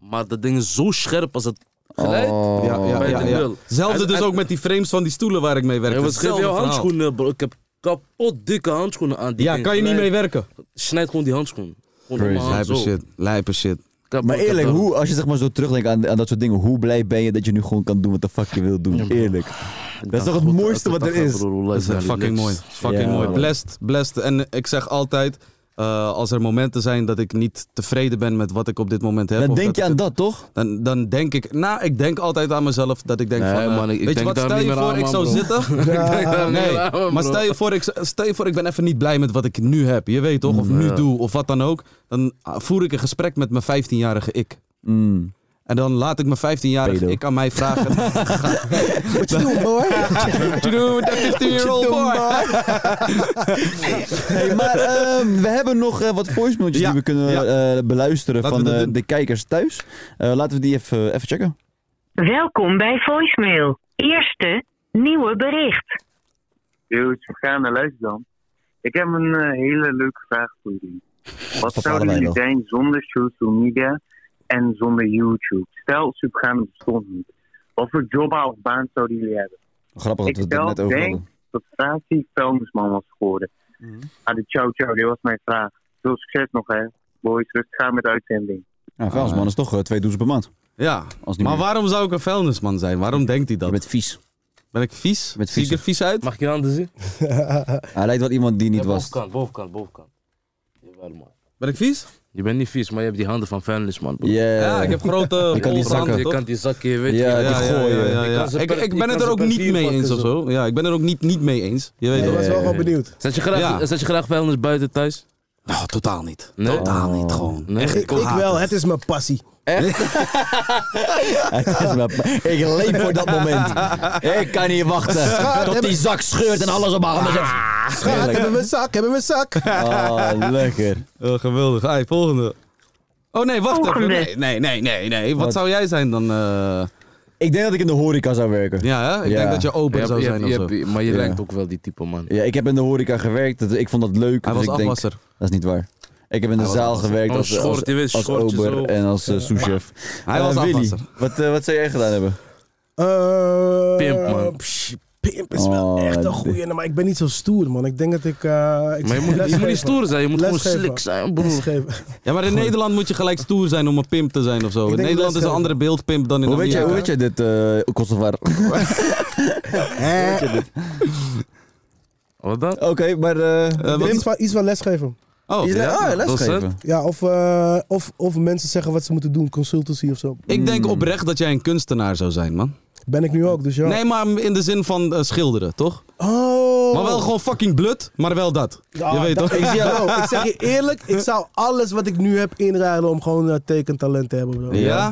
maar dat ding is zo scherp als het glijdt. Oh. Ja, ja, Bij ja, de ja. nul. Zelfde En- dus en- ook met die frames van die stoelen waar ik mee werkte. Ja, wat geef Hetzelfde jouw verhaal. handschoenen, bro? Ik heb kapot dikke handschoenen aan. Die Ja, ding kan je niet mee glijdt. werken. Snijd gewoon die handschoen. Gewoon Crazy. normaal, zo. lijpe shit. Kapot, Maar eerlijk, kapot. hoe, als je zeg maar zo terugdenkt aan, aan dat soort dingen, hoe blij ben je dat je nu gewoon kan doen wat de fuck je wil doen? Eerlijk. Ik dat is dacht, toch het goed, mooiste elke wat er dag, is? bro, hoe Dat lijkt is het echt nou, fucking relax. mooi. Fucking Ja, mooi. man. Blessed, blessed. En ik zeg altijd, eh, als er momenten zijn dat ik niet tevreden ben met wat ik op dit moment heb. Dan of denk je ik aan het- dat, toch? Dan, dan denk ik, nou, ik denk altijd aan mezelf dat ik denk Nee, van... eh, man, ik- ik weet je denk wat, daar stel niet je meer voor aan, ik man, zou bro. zitten... Ik denk daar Ah, Nee, niet aan, bro. maar stel je, voor, ik, stel je voor, ik ben even niet blij met wat ik nu heb. Je weet toch, of nu Ja. doe, of wat dan ook. Dan ah, voer ik een gesprek met mijn 15-jarige ik. Mm. En dan laat ik mijn 15-jarige Pedo. ik aan mij vragen. Wat je doen, hoor? What you doing with that 15-year-old boy? Hey, maar ehm, we hebben nog eh, wat voicemailtjes Ja, die we kunnen eh, beluisteren Laten we van dat eh, doen. de kijkers thuis. Eh, laten we die even, even checken. Welkom bij voicemail. Eerste nieuwe bericht. Dude, Morgana, luister dan. Ik heb een eh, hele leuke vraag voor jullie. Wat Dat zouden allebei jullie nog. zijn zonder social media en zonder YouTube? Stel, Subgana bestond niet. Wat voor job of baan zouden jullie hebben? Grappig Oh, dat we ik het er zelf net over denk hadden. dat Fratie vuilnisman was geworden. Mhm. Ah, de ciao ciao, dit was mijn vraag. Veel succes nog hè, boys. Rustig aan met de uitzending. Ja, vuilnisman is toch eh, twee douches per maand. Ja, Als niet maar meer. waarom zou ik een vuilnisman zijn? Waarom denkt hij Je dat? bent vies. Ben ik vies? Met Zie ik er vies uit? Mag ik je handen zien? Hij lijkt wel iemand die niet Ja, was. Bovenkant, bovenkant, bovenkant. Jawel, man. Ben ik vies? Je bent niet vies, maar je hebt die handen van vuilnis, man. bro. Yeah. eh, Ja, ik heb grote Je kan die volgende zakken, je toch? kan die zakken, je weet Ja, je. die Ja, ja, ja, gooien. ja, Je ja. kan ze Ik, ik per- je ben het kan er ze ook per niet vier mee pakken eens of zo. zo. Ja, ik ben er ook niet, niet mee eens. Je weet Ik toch? was wel gewoon benieuwd. Zet je graag, Ja. zet je graag vuilnis buiten thuis? Nou, totaal niet. Nee? Totaal niet gewoon. Nee. Echt, Ik, ik haat wel, het. het is mijn passie. Het is me- ik leef voor dat moment. Ik kan niet wachten tot die zak scheurt en alles op mijn handen zet. Schat, hebben we een zak, hebben we een zak. Oh, lekker. Oh, geweldig. Ai, volgende. Oh nee, wacht even. Volgende. Nee, nee, nee, nee. nee. Wat, Wat? zou jij zijn dan? eh? Ik denk dat ik in de horeca zou werken. Ja, hè? ik Ja. denk dat je open Je hebt- zou je zijn hebt- je of zo. hebt- Maar je Ja. lijkt ook wel die type, man. Ja, ik heb in de horeca gewerkt. dat- Ik vond dat leuk. Hij dus was ik denk- afwasser. dat is niet waar. Ik heb in de was zaal afwasser. gewerkt Oh, als, schort, je weet, als, als schortje ober zo. en als eh, souschef. Hij Eh, was Willy, afwasser. Wat, eh, wat zou jij gedaan hebben? Eh, Pimp, man. psh, Pimp is wel echt een goeie, maar ik ben niet zo stoer, man. Ik denk dat ik... eh, ik Maar je moet, je lesgeven. moet niet stoer zijn, je moet gewoon Lesgeven. slick zijn, broer. Lesgeven. Ja, maar in Nederland moet je gelijk stoer zijn om een pimp te zijn of zo. In denk Nederland is een lesgeven. andere beeldpimp dan in Hoe weet, jij, Amerika. hoe weet jij dit, eh Kosovar? Hoe weet jij dit? Wat dan? Oké, maar... eh Eh, wat- Iets van, iets van lesgeven. Oh, is- ja. ah, docent. lesgeven. Ja, of, eh, of, of mensen zeggen wat ze moeten doen, consultancy of zo. Ik denk oprecht dat jij een kunstenaar zou zijn, man. Ben ik nu ook, dus ja. Nee, maar in de zin van eh, schilderen, toch? Oh! Maar wel gewoon fucking blut, maar wel dat. Ah, je weet dat- toch? Ik, zie jou wel. ik zeg je eerlijk, ik zou alles wat ik nu heb inruilen om gewoon eh, tekentalent te hebben. Bro. Ja?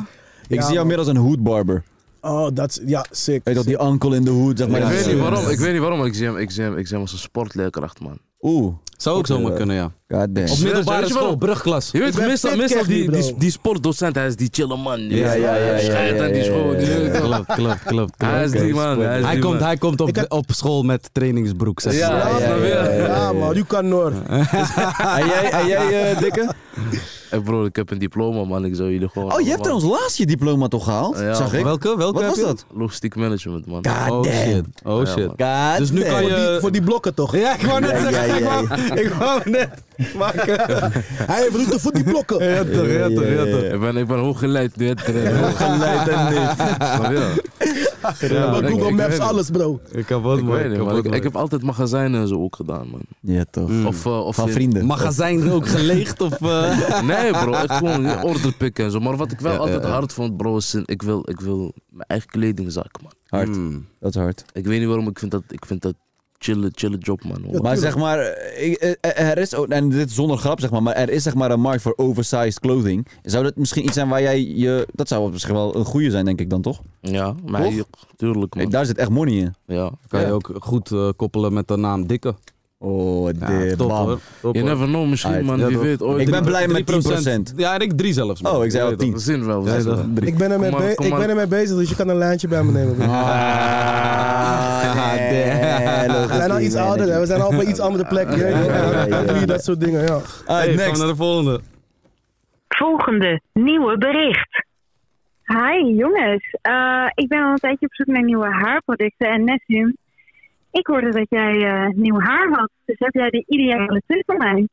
Ja, Ik zie man. jou meer als een hoedbarber. Oh, dat is... Ja, sick. Weet je dat, die uncle in de hoed, zeg maar. Ik die- weet niet waarom, ik weet niet waarom, maar ik zie hem, ik zie hem, ik zie hem als een sportleerkracht, man. Oeh, Zou ook zomaar eh, kunnen, ja. god damn. Op je middelbare wel- school, brugklas. Je weet, ben meestal, fit, meestal kijk die, niet, die, bro. die sportdocent, hij is die chille man. Die Ja, is, ja, ja, eh, ja, schijt ja, aan ja, die school. ja, die- ja, ja. Klopt, klopt, klopt. Hij is die man. Hij, is Hij die komt, man. hij komt op, Ik had- op school met trainingsbroek, zeg Ja, maar. ja, ja, ja, ja. Ja, man, u kan Noor. En jij, en jij eh, dikke? Hey, bro, ik heb een diploma, man. Ik zou jullie gewoon... Oh, je hebt allemaal- trouwens laatst je diploma toch gehaald? Ja, Zag ik? Welke? Welke Wat heb was je? dat? Logistiek management, man. God Oh damn. shit. Oh Ja, shit. man. God Dus nu damn. kan je- Die- voor die blokken toch? Ja, ik wou net Ja, ja, zeggen. ik ja, wou- Ik Oh, wou net maken. Hij heeft route voor die blokken. Ja, toch, ja, toch, ja, toch. Ik ben, ik ben hooggeleid nu. hè, trainer. Geleid en niet. Maar ja, Ja, Maar ik- Google Maps, ik weet het. alles, bro. Ik heb wat Ik weet niet, mooi. man. Ik, ik heb altijd magazijnen en zo ook gedaan, man. Ja, toch. Of, eh, of Van in- vrienden. Magazijn ook geleegd of... eh, Nee, bro, echt gewoon in order pikken en zo. Maar wat ik wel Ja, altijd ja, ja. hard vond, bro, is in- ik wil, ik wil mijn eigen kledingzaak, man. Hard. hmm. Dat is hard. Ik weet niet waarom, ik vind dat, ik vind dat chille, chille job, man. hoor. Maar zeg maar, ik- eh, er is, ook- en dit is zonder grap zeg maar, maar er is zeg maar een markt voor oversized clothing. Zou dat misschien iets zijn waar jij je, dat zou misschien wel een goede zijn denk ik dan toch? Ja, maar Toch? tuurlijk, man. Daar zit echt money in. Ja. Kan je Ja. ook goed eh, koppelen met de naam Dikke. Oh, Ja, dit top bam. hoor. Top, Je hoor. never know, misschien, Alright. man. Ja, Wie toch. weet ooit. Ik ben blij met 3%. 10%. Ja, en ik drie zelfs. man. Oh, ik zei al Je weet toch. We zien wel. We Ja, zien dat- wel. Drie. Ik ben, ermee Kom maar, be- kom ik maar. ben ermee bezig, dus je kan een lijntje bij me nemen. Bro. Ah, nee, we zijn al iets ouder, hè. we zijn al op een iets andere plek. Ja, ja, ja, ja. Doe je dat soort dingen, ja. Hey, Alright, gaan we next. naar de volgende. Volgende nieuwe bericht. Hi jongens, Eh, ik ben al een tijdje op zoek naar nieuwe haarproducten en Nessim, ik hoorde dat jij eh, nieuw haar had, dus heb jij de ideale tip voor mij?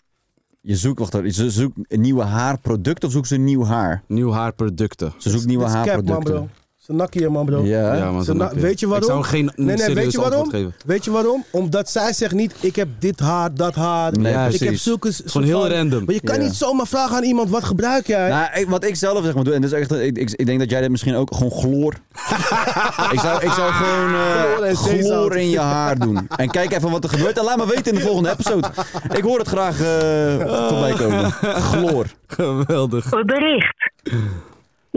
Je zoekt, wacht even, ze zoekt een nieuwe haarproduct of zoekt ze een nieuw haar? Nieuw haarproducten. Ze zoekt nieuwe Dit is cap, man, haarproducten. bro. Ze nakken je, man, bro. Ja. Ja, man, Ze snap na- weet je waarom? Ik zou geen Nee, nee, weet serieus je antwoord waarom? geven. Weet je waarom? Omdat zij zegt niet, ik heb dit haar, dat haar. Nee, Ja, ik heb precies. zulke... Gewoon heel random. Maar je kan Ja. niet zomaar vragen aan iemand, wat gebruik jij? Nou, ik- wat ik zelf zeg maar doe, en dat is echt, ik, ik, ik denk dat jij dit misschien ook gewoon chloor. ik, zou, ik zou gewoon Chloor eh, en zeezout. chloor in je haar doen. En kijk even wat er gebeurt en laat me weten in de volgende episode. Ik hoor het graag eh, voorbij komen. Chloor. Geweldig. Een bericht.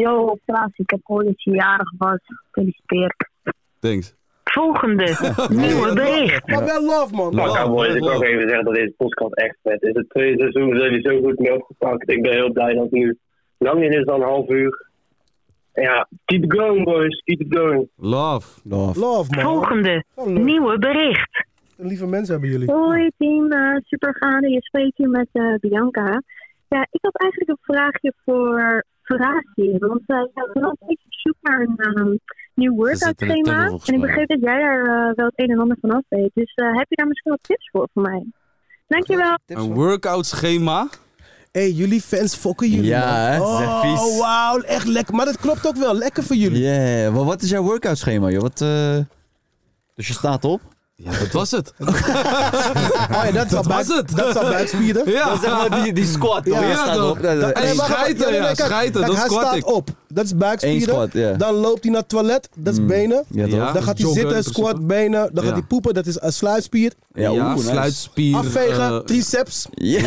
Yo, Klaas, ik heb gehoord dat je jarig was. Gefeliciteerd. Thanks. Volgende nieuwe bericht. Maar wel love, man. Love. Maar boys, Nou, ik wil ook even zeggen dat deze podcast echt vet is. Het tweede seizoen zijn jullie zo goed mee opgepakt. Ik ben heel blij dat het nu lang in is dan een half uur. Ja, keep it going boys, keep it going. Love. Love. Love, man. Volgende Hallo. nieuwe bericht. Lieve mensen hebben jullie. Hoi team, eh supervader, je spreekt hier met eh, Bianca. Ja, ik had eigenlijk een vraagje voor Verratie, want eh, ja, we zijn al een beetje op zoek naar een ehm, nieuw workout zitten in de tunnel, schema. volgens En ik mij. begreep dat jij daar eh, wel het een en ander van af weet, dus eh, heb je daar misschien wat tips voor voor mij? Dankjewel. Een workout schema. hey, jullie fans fokken jullie, Ja, hè? man. Ze zijn Oh, vies. wauw. Echt lekker. Maar dat klopt ook wel. Lekker voor jullie. Yeah, maar wat is jouw workout schema, joh? Wat, eh, Dus je staat op? Ja, dat was het. Oh, ja, dat, was buik- het. Dat zou buikspieren. Ja. Dat is zeg maar die, die squat. toch? Ja, je staat toch? op. Eh, Ja, ja. Dat- Hey, Nee, wacht, wacht. Eh, schijten, nee, nee, ja, kijk, schijten, kijk, dat hij squat staat ik. op. Dat is Eén buikspieren. squat, ja. Dan loopt hij naar het toilet. Dat is benen. Ja, toch? Hmm. Ja. Dan gaat hij Joggen, in zitten, principe. squat, benen. Dan Ja. gaat hij poepen. Dat is een sluitspier. Ja, oeh, nice. sluitspier. Afvegen, eh, triceps. Ja,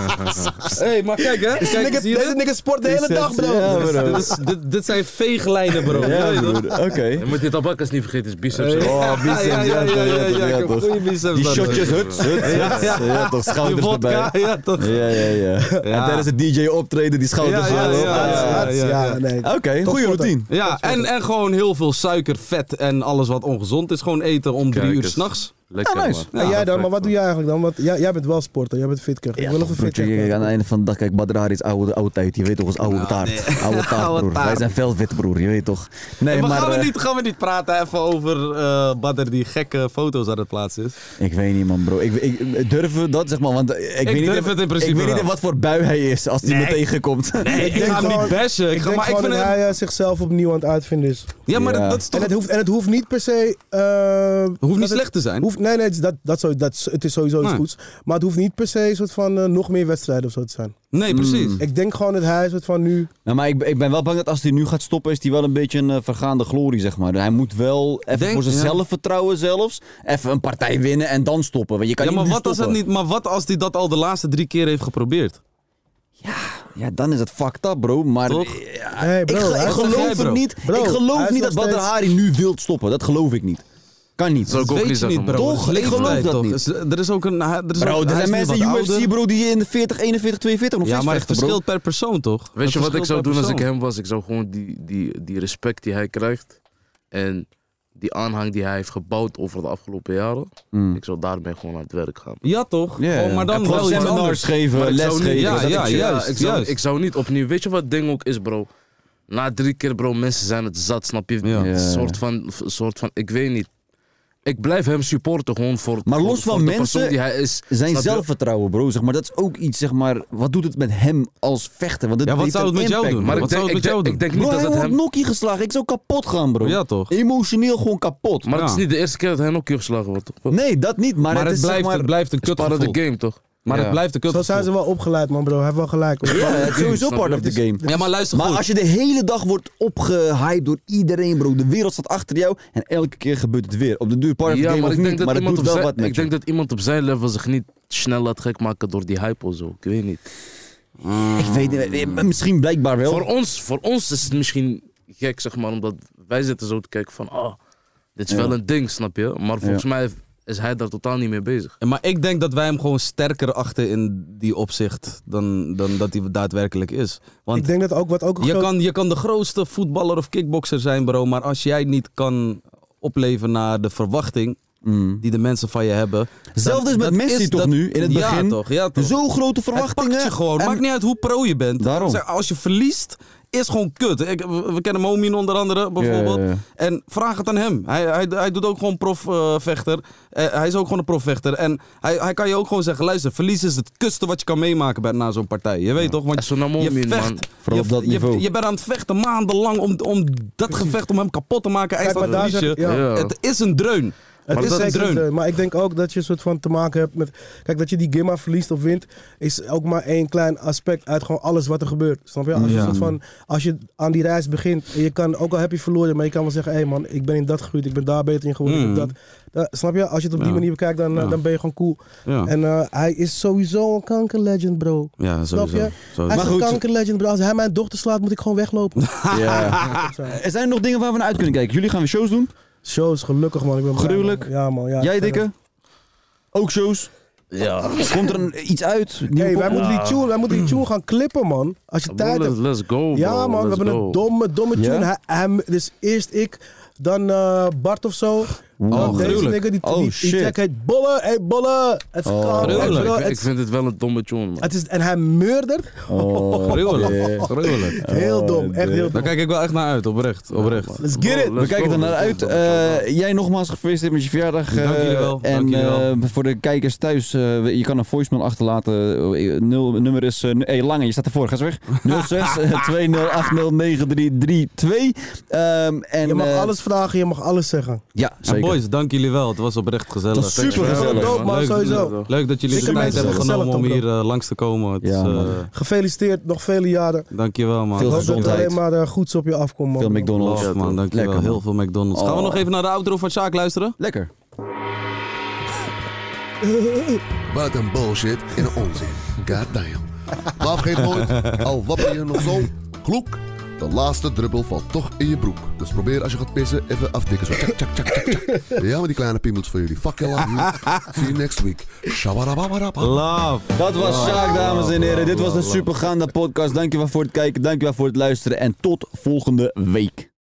Hé, hey, maar kijk hè. Deze Kijk, nigga- zie je Deze dit? nigga sport de hele dag, bro. Ja, Dit is- bro. dit is- dit- Dit zijn veeglijnen, bro. Ja, Ja, ja, broer. Oké. Je moet die tabakkers niet vergeten, is biceps. Hey. Oh, biceps. Ja, ja, ja, ja, ja, ja, ik heb toch. goede biceps. Die dat is- shotjes, huts, huts, huts. Ja, Ja, ja. toch, Die schouders vodka, erbij. ja toch. Ja, ja, ja. En tijdens het DJ optreden, die schouders. Ja, ja, zo. ja, ja. ja. nee. Oké, goede sporten. routine. Ja, en, en gewoon heel veel suiker, vet en alles wat ongezond is gewoon eten om drie Kijk uur eens. s'nachts. Lekker, Ah, nice. en jij dan, maar wat doe jij eigenlijk dan? Want jij, jij bent wel sporter, jij bent fitker. ik wil nog een fitker. Broertje, aan het einde van de dag, kijk, Badrari is oude, oude tijd. Je weet toch, ons oude taart. Oude taart, Nou, Oude broer. taart. Wij zijn veldwit, broer. Je weet toch. Nee, maar, maar... gaan, we eh, niet, gaan we niet praten even over eh Badder die gekke foto's aan het plaatsen is? Ik weet niet, man, bro. Ik, ik, durven we dat, zeg maar? Want eh, ik, Ik weet niet durf in- het in principe Ik weet niet wel. in wat voor bui hij is als hij Nee. me tegenkomt. Nee, ik, ga hem niet bashen. Ik Ik ga- denk maar ik gewoon vind dat hem- hij eh, zichzelf opnieuw aan het uitvinden is. Ja, maar dat- Ja. dat is toch- En het hoeft, en het hoeft niet per se... eh, hoeft niet slecht te zijn. Hoeft, nee, nee, het is dat, dat, zo, dat, is- het is sowieso iets Nee. goeds. Maar het hoeft niet per se een soort van eh, nog meer wedstrijden of zo te zijn. Nee, precies. Hmm. Ik denk gewoon dat hij een soort van nu... Nou, maar ik, ik ben wel bang dat als hij nu gaat stoppen, is hij wel een beetje een eh, vergaande glorie, zeg maar. Hij moet wel even Denk- voor zijn ja. zelfvertrouwen zelfs, even een partij winnen en dan stoppen. Want je kan ja, niet maar nu wat, als het stoppen. niet, maar wat als hij dat al de laatste drie keer heeft geprobeerd? Ja, dan is het fucked up, bro. Maar Eh, Ja, Hey, bro, ik, ge- hij ik is nog- geloof Hey, het bro. niet. Bro, ik hij geloof is niet nog dat Badr steeds- Hari nu wilt stoppen. Dat geloof ik niet. Kan niet. Dat weet je niet, bro. Toch? Ik Leeftijd, geloof dat toch? niet. Is- Er is ook een... hij- Er is Bro, ook, er hij zijn is nu mensen wat UFC, ouder. bro, die in de 40, 41, 42 nog Ja, steeds maar het vechten, bro. verschilt per persoon, toch? Weet je Het wat ik verschilt zou per doen als ik persoon. hem was? Ik zou gewoon die, die, die respect die hij krijgt en die aanhang die hij heeft gebouwd over de afgelopen jaren, ik zou daarmee gewoon aan het werk gaan. Ja, toch? Gewoon, maar dan En gewoon wel iets seminars anders. Maar geven, ik zou les niet- geven. Ja, dat ja, ik- juist, ik, zou, juist. ik zou niet opnieuw. Weet je wat het ding ook is, bro? Na drie keer, bro, mensen zijn het zat, snap je? Een soort van, een soort van, ik weet niet. Ik blijf hem supporten gewoon voor. Maar voor- los voor van de persoon mensen die hij is. zijn snap je? zelfvertrouwen, bro. Zeg maar, dat is ook iets, zeg maar. Wat doet het met hem als vechter? Want het Ja, wat heeft zou een het met jou impact, doen? bro. Wat zou het met jou doen? bro, hij het wordt nokkie geslagen. Ik zou kapot gaan, bro. Ja, toch? Emotioneel gewoon kapot. Maar het is niet de eerste keer dat hij nog keer geslagen wordt. toch? Nee, dat niet. Maar, Maar het, het is, blijft- zeg maar... het blijft een Het is part of the kutgevoel. game, toch? Maar het blijft een Zo kutgevoel. zijn ze wel opgeleid, man, bro. Hij heeft wel gelijk. hoor. Ja, het is sowieso part of the game. Ja, maar luister Maar goed. als je de hele dag wordt opgehyped door iedereen, bro. De wereld staat achter jou. En elke keer gebeurt het weer. Op de duur part of the game of ik denk niet. dat Maar het iemand doet wel op wat zijn- Ik met je. denk dat iemand op zijn level zich niet snel laat gek maken door die hype of zo. Ik weet niet. Ik weet niet. eh, Misschien blijkbaar wel. Voor ons, voor ons is het misschien gek, zeg maar, omdat wij zitten zo te kijken van, ah, dit is Ja. wel een ding, snap je? Maar volgens Ja. mij is hij daar totaal niet mee bezig. Ja, Maar ik denk dat wij hem gewoon sterker achten in die opzicht dan, dan dat hij daadwerkelijk is. Want Ik denk dat ook wat ook een je, groot- kan, je kan de grootste voetballer of kickboxer zijn, bro. Maar als jij niet kan opleven naar de verwachting die de mensen van je hebben. Hetzelfde dan- is met dat Messi toch dat- nu, in het begin? Ja, toch. Ja, toch. Zo grote Het verwachtingen. pakt je gewoon. En- Maakt niet uit hoe pro je bent. Daarom. Zeg, Als je verliest, is gewoon kut. Ik, we we kennen Momin onder andere, bijvoorbeeld. Ja, ja, ja. En vraag het aan hem. Hij, hij, hij doet ook gewoon profvechter. Eh, hij is ook gewoon een profvechter. En hij, hij kan je ook gewoon zeggen: luister, verlies is het kutste wat je kan meemaken bij, na zo'n partij. Je weet toch? Want zo naar je Momin, vecht. man. Vooral Je, op dat je- niveau. Je, bent aan het vechten maandenlang om, om dat gevecht, om hem kapot te maken. Hij Kijk, staat maar daar verliezen. zit- ja. Ja. Het is een dreun. Het is een zeker een dreun. dreun, Maar ik denk ook dat je een soort van te maken hebt met. Kijk, dat je die Gimma verliest of wint, is ook maar één klein aspect uit gewoon alles wat er gebeurt. Snap je? Als, je, Ja. een soort van, als je aan die reis begint, en je kan, ook al heb je verloren, maar je kan wel zeggen: hé hey man, ik ben in dat gegroeid, ik ben daar beter in geworden. ik heb Mm. Dat, Dat- snap je? Als je het op die Ja. manier bekijkt, dan, eh, Ja. dan ben je gewoon cool. Ja. En eh, hij is sowieso een kankerlegend, bro. Ja, Snap sowieso. je? Sowieso. Hij is Maar een goed. kankerlegend, bro. Als hij mijn dochter slaat, moet ik gewoon weglopen. Ja. Er zijn nog dingen waar we naar uit kunnen kijken. Jullie gaan weer shows doen. Shows, gelukkig man. Ik ben blij, Gruwelijk. man. Ja, man. Ja, Jij, ik- dikke? Ook shows? Ja. Komt er een, iets uit? Nieuwe Hey, wij, pop- moeten die tune, wij moeten die tune gaan klippen, man. Als je tijd let's, hebt. let's go, bro. ja, man, we let's hebben go. een domme, domme tune. Ja? Hij- hij- dus eerst ik, dan eh, Bart of zo. dan deze gruwelijk. nigger, die, Oh, die, die shit. Oh. track heet Bolle, hey Bolle. Het is koud, hey, bro, Gruwelijk. Ik, het ik is- vind het wel een domme tune, man. het is En hij murdert. Gruwelijk. Oh, Gruwelijk. Oh, Heel dom, echt heel Daar dom. kijk ik wel echt naar uit, oprecht. oprecht. Let's get it. We kijken er naar uit. Eh, jij nogmaals gefeliciteerd met je verjaardag. Dank eh, jullie wel, En dank jullie wel. eh, voor de kijkers thuis, eh, we- je kan een voicemail achterlaten. Eh, Nul, nummer is... eh, nu- hey, Lange, je staat ervoor. Ga eens weg. eh, 06 20809332. Ehm, en, Je mag eh, alles vragen, je mag alles zeggen. Ja, En zeker. boys, dank jullie wel. Het was oprecht gezellig. Het was supergezellig, Dankjewel, man. Dope, man, Leuk- sowieso. Leuk dat jullie de Zeker tijd mensen, hebben gezellig, genomen om toch, hier eh, langs te komen. Het, is, eh, Gefeliciteerd, nog vele jaren. dankjewel man. Ik hoop dat er alleen maar eh, goeds op je afkomt, man. Veel McDonald's. Love, man, dankjewel. Lekker, man. Heel veel McDonald's. Gaan we Oh. nog even naar de outro van Sjaak luisteren? Lekker. Wat een bullshit en een onzin. Goddamn. Maar vergeet nooit, al wapper je nog zo, kloek. De laatste druppel valt toch in je broek. Dus probeer als je gaat pissen even afdikken. Zo. Tjak, tjak, tjak, tjak, tjak. Ja, maar die kleine piemels van jullie. Fuck you, love you. See you next week. Shabarabarabara. Love. Dat was Love, Sjaak, dames en heren. love, Dit was love, de love. supergaande podcast. Dankjewel voor het kijken. Dankjewel voor het luisteren. En tot volgende week.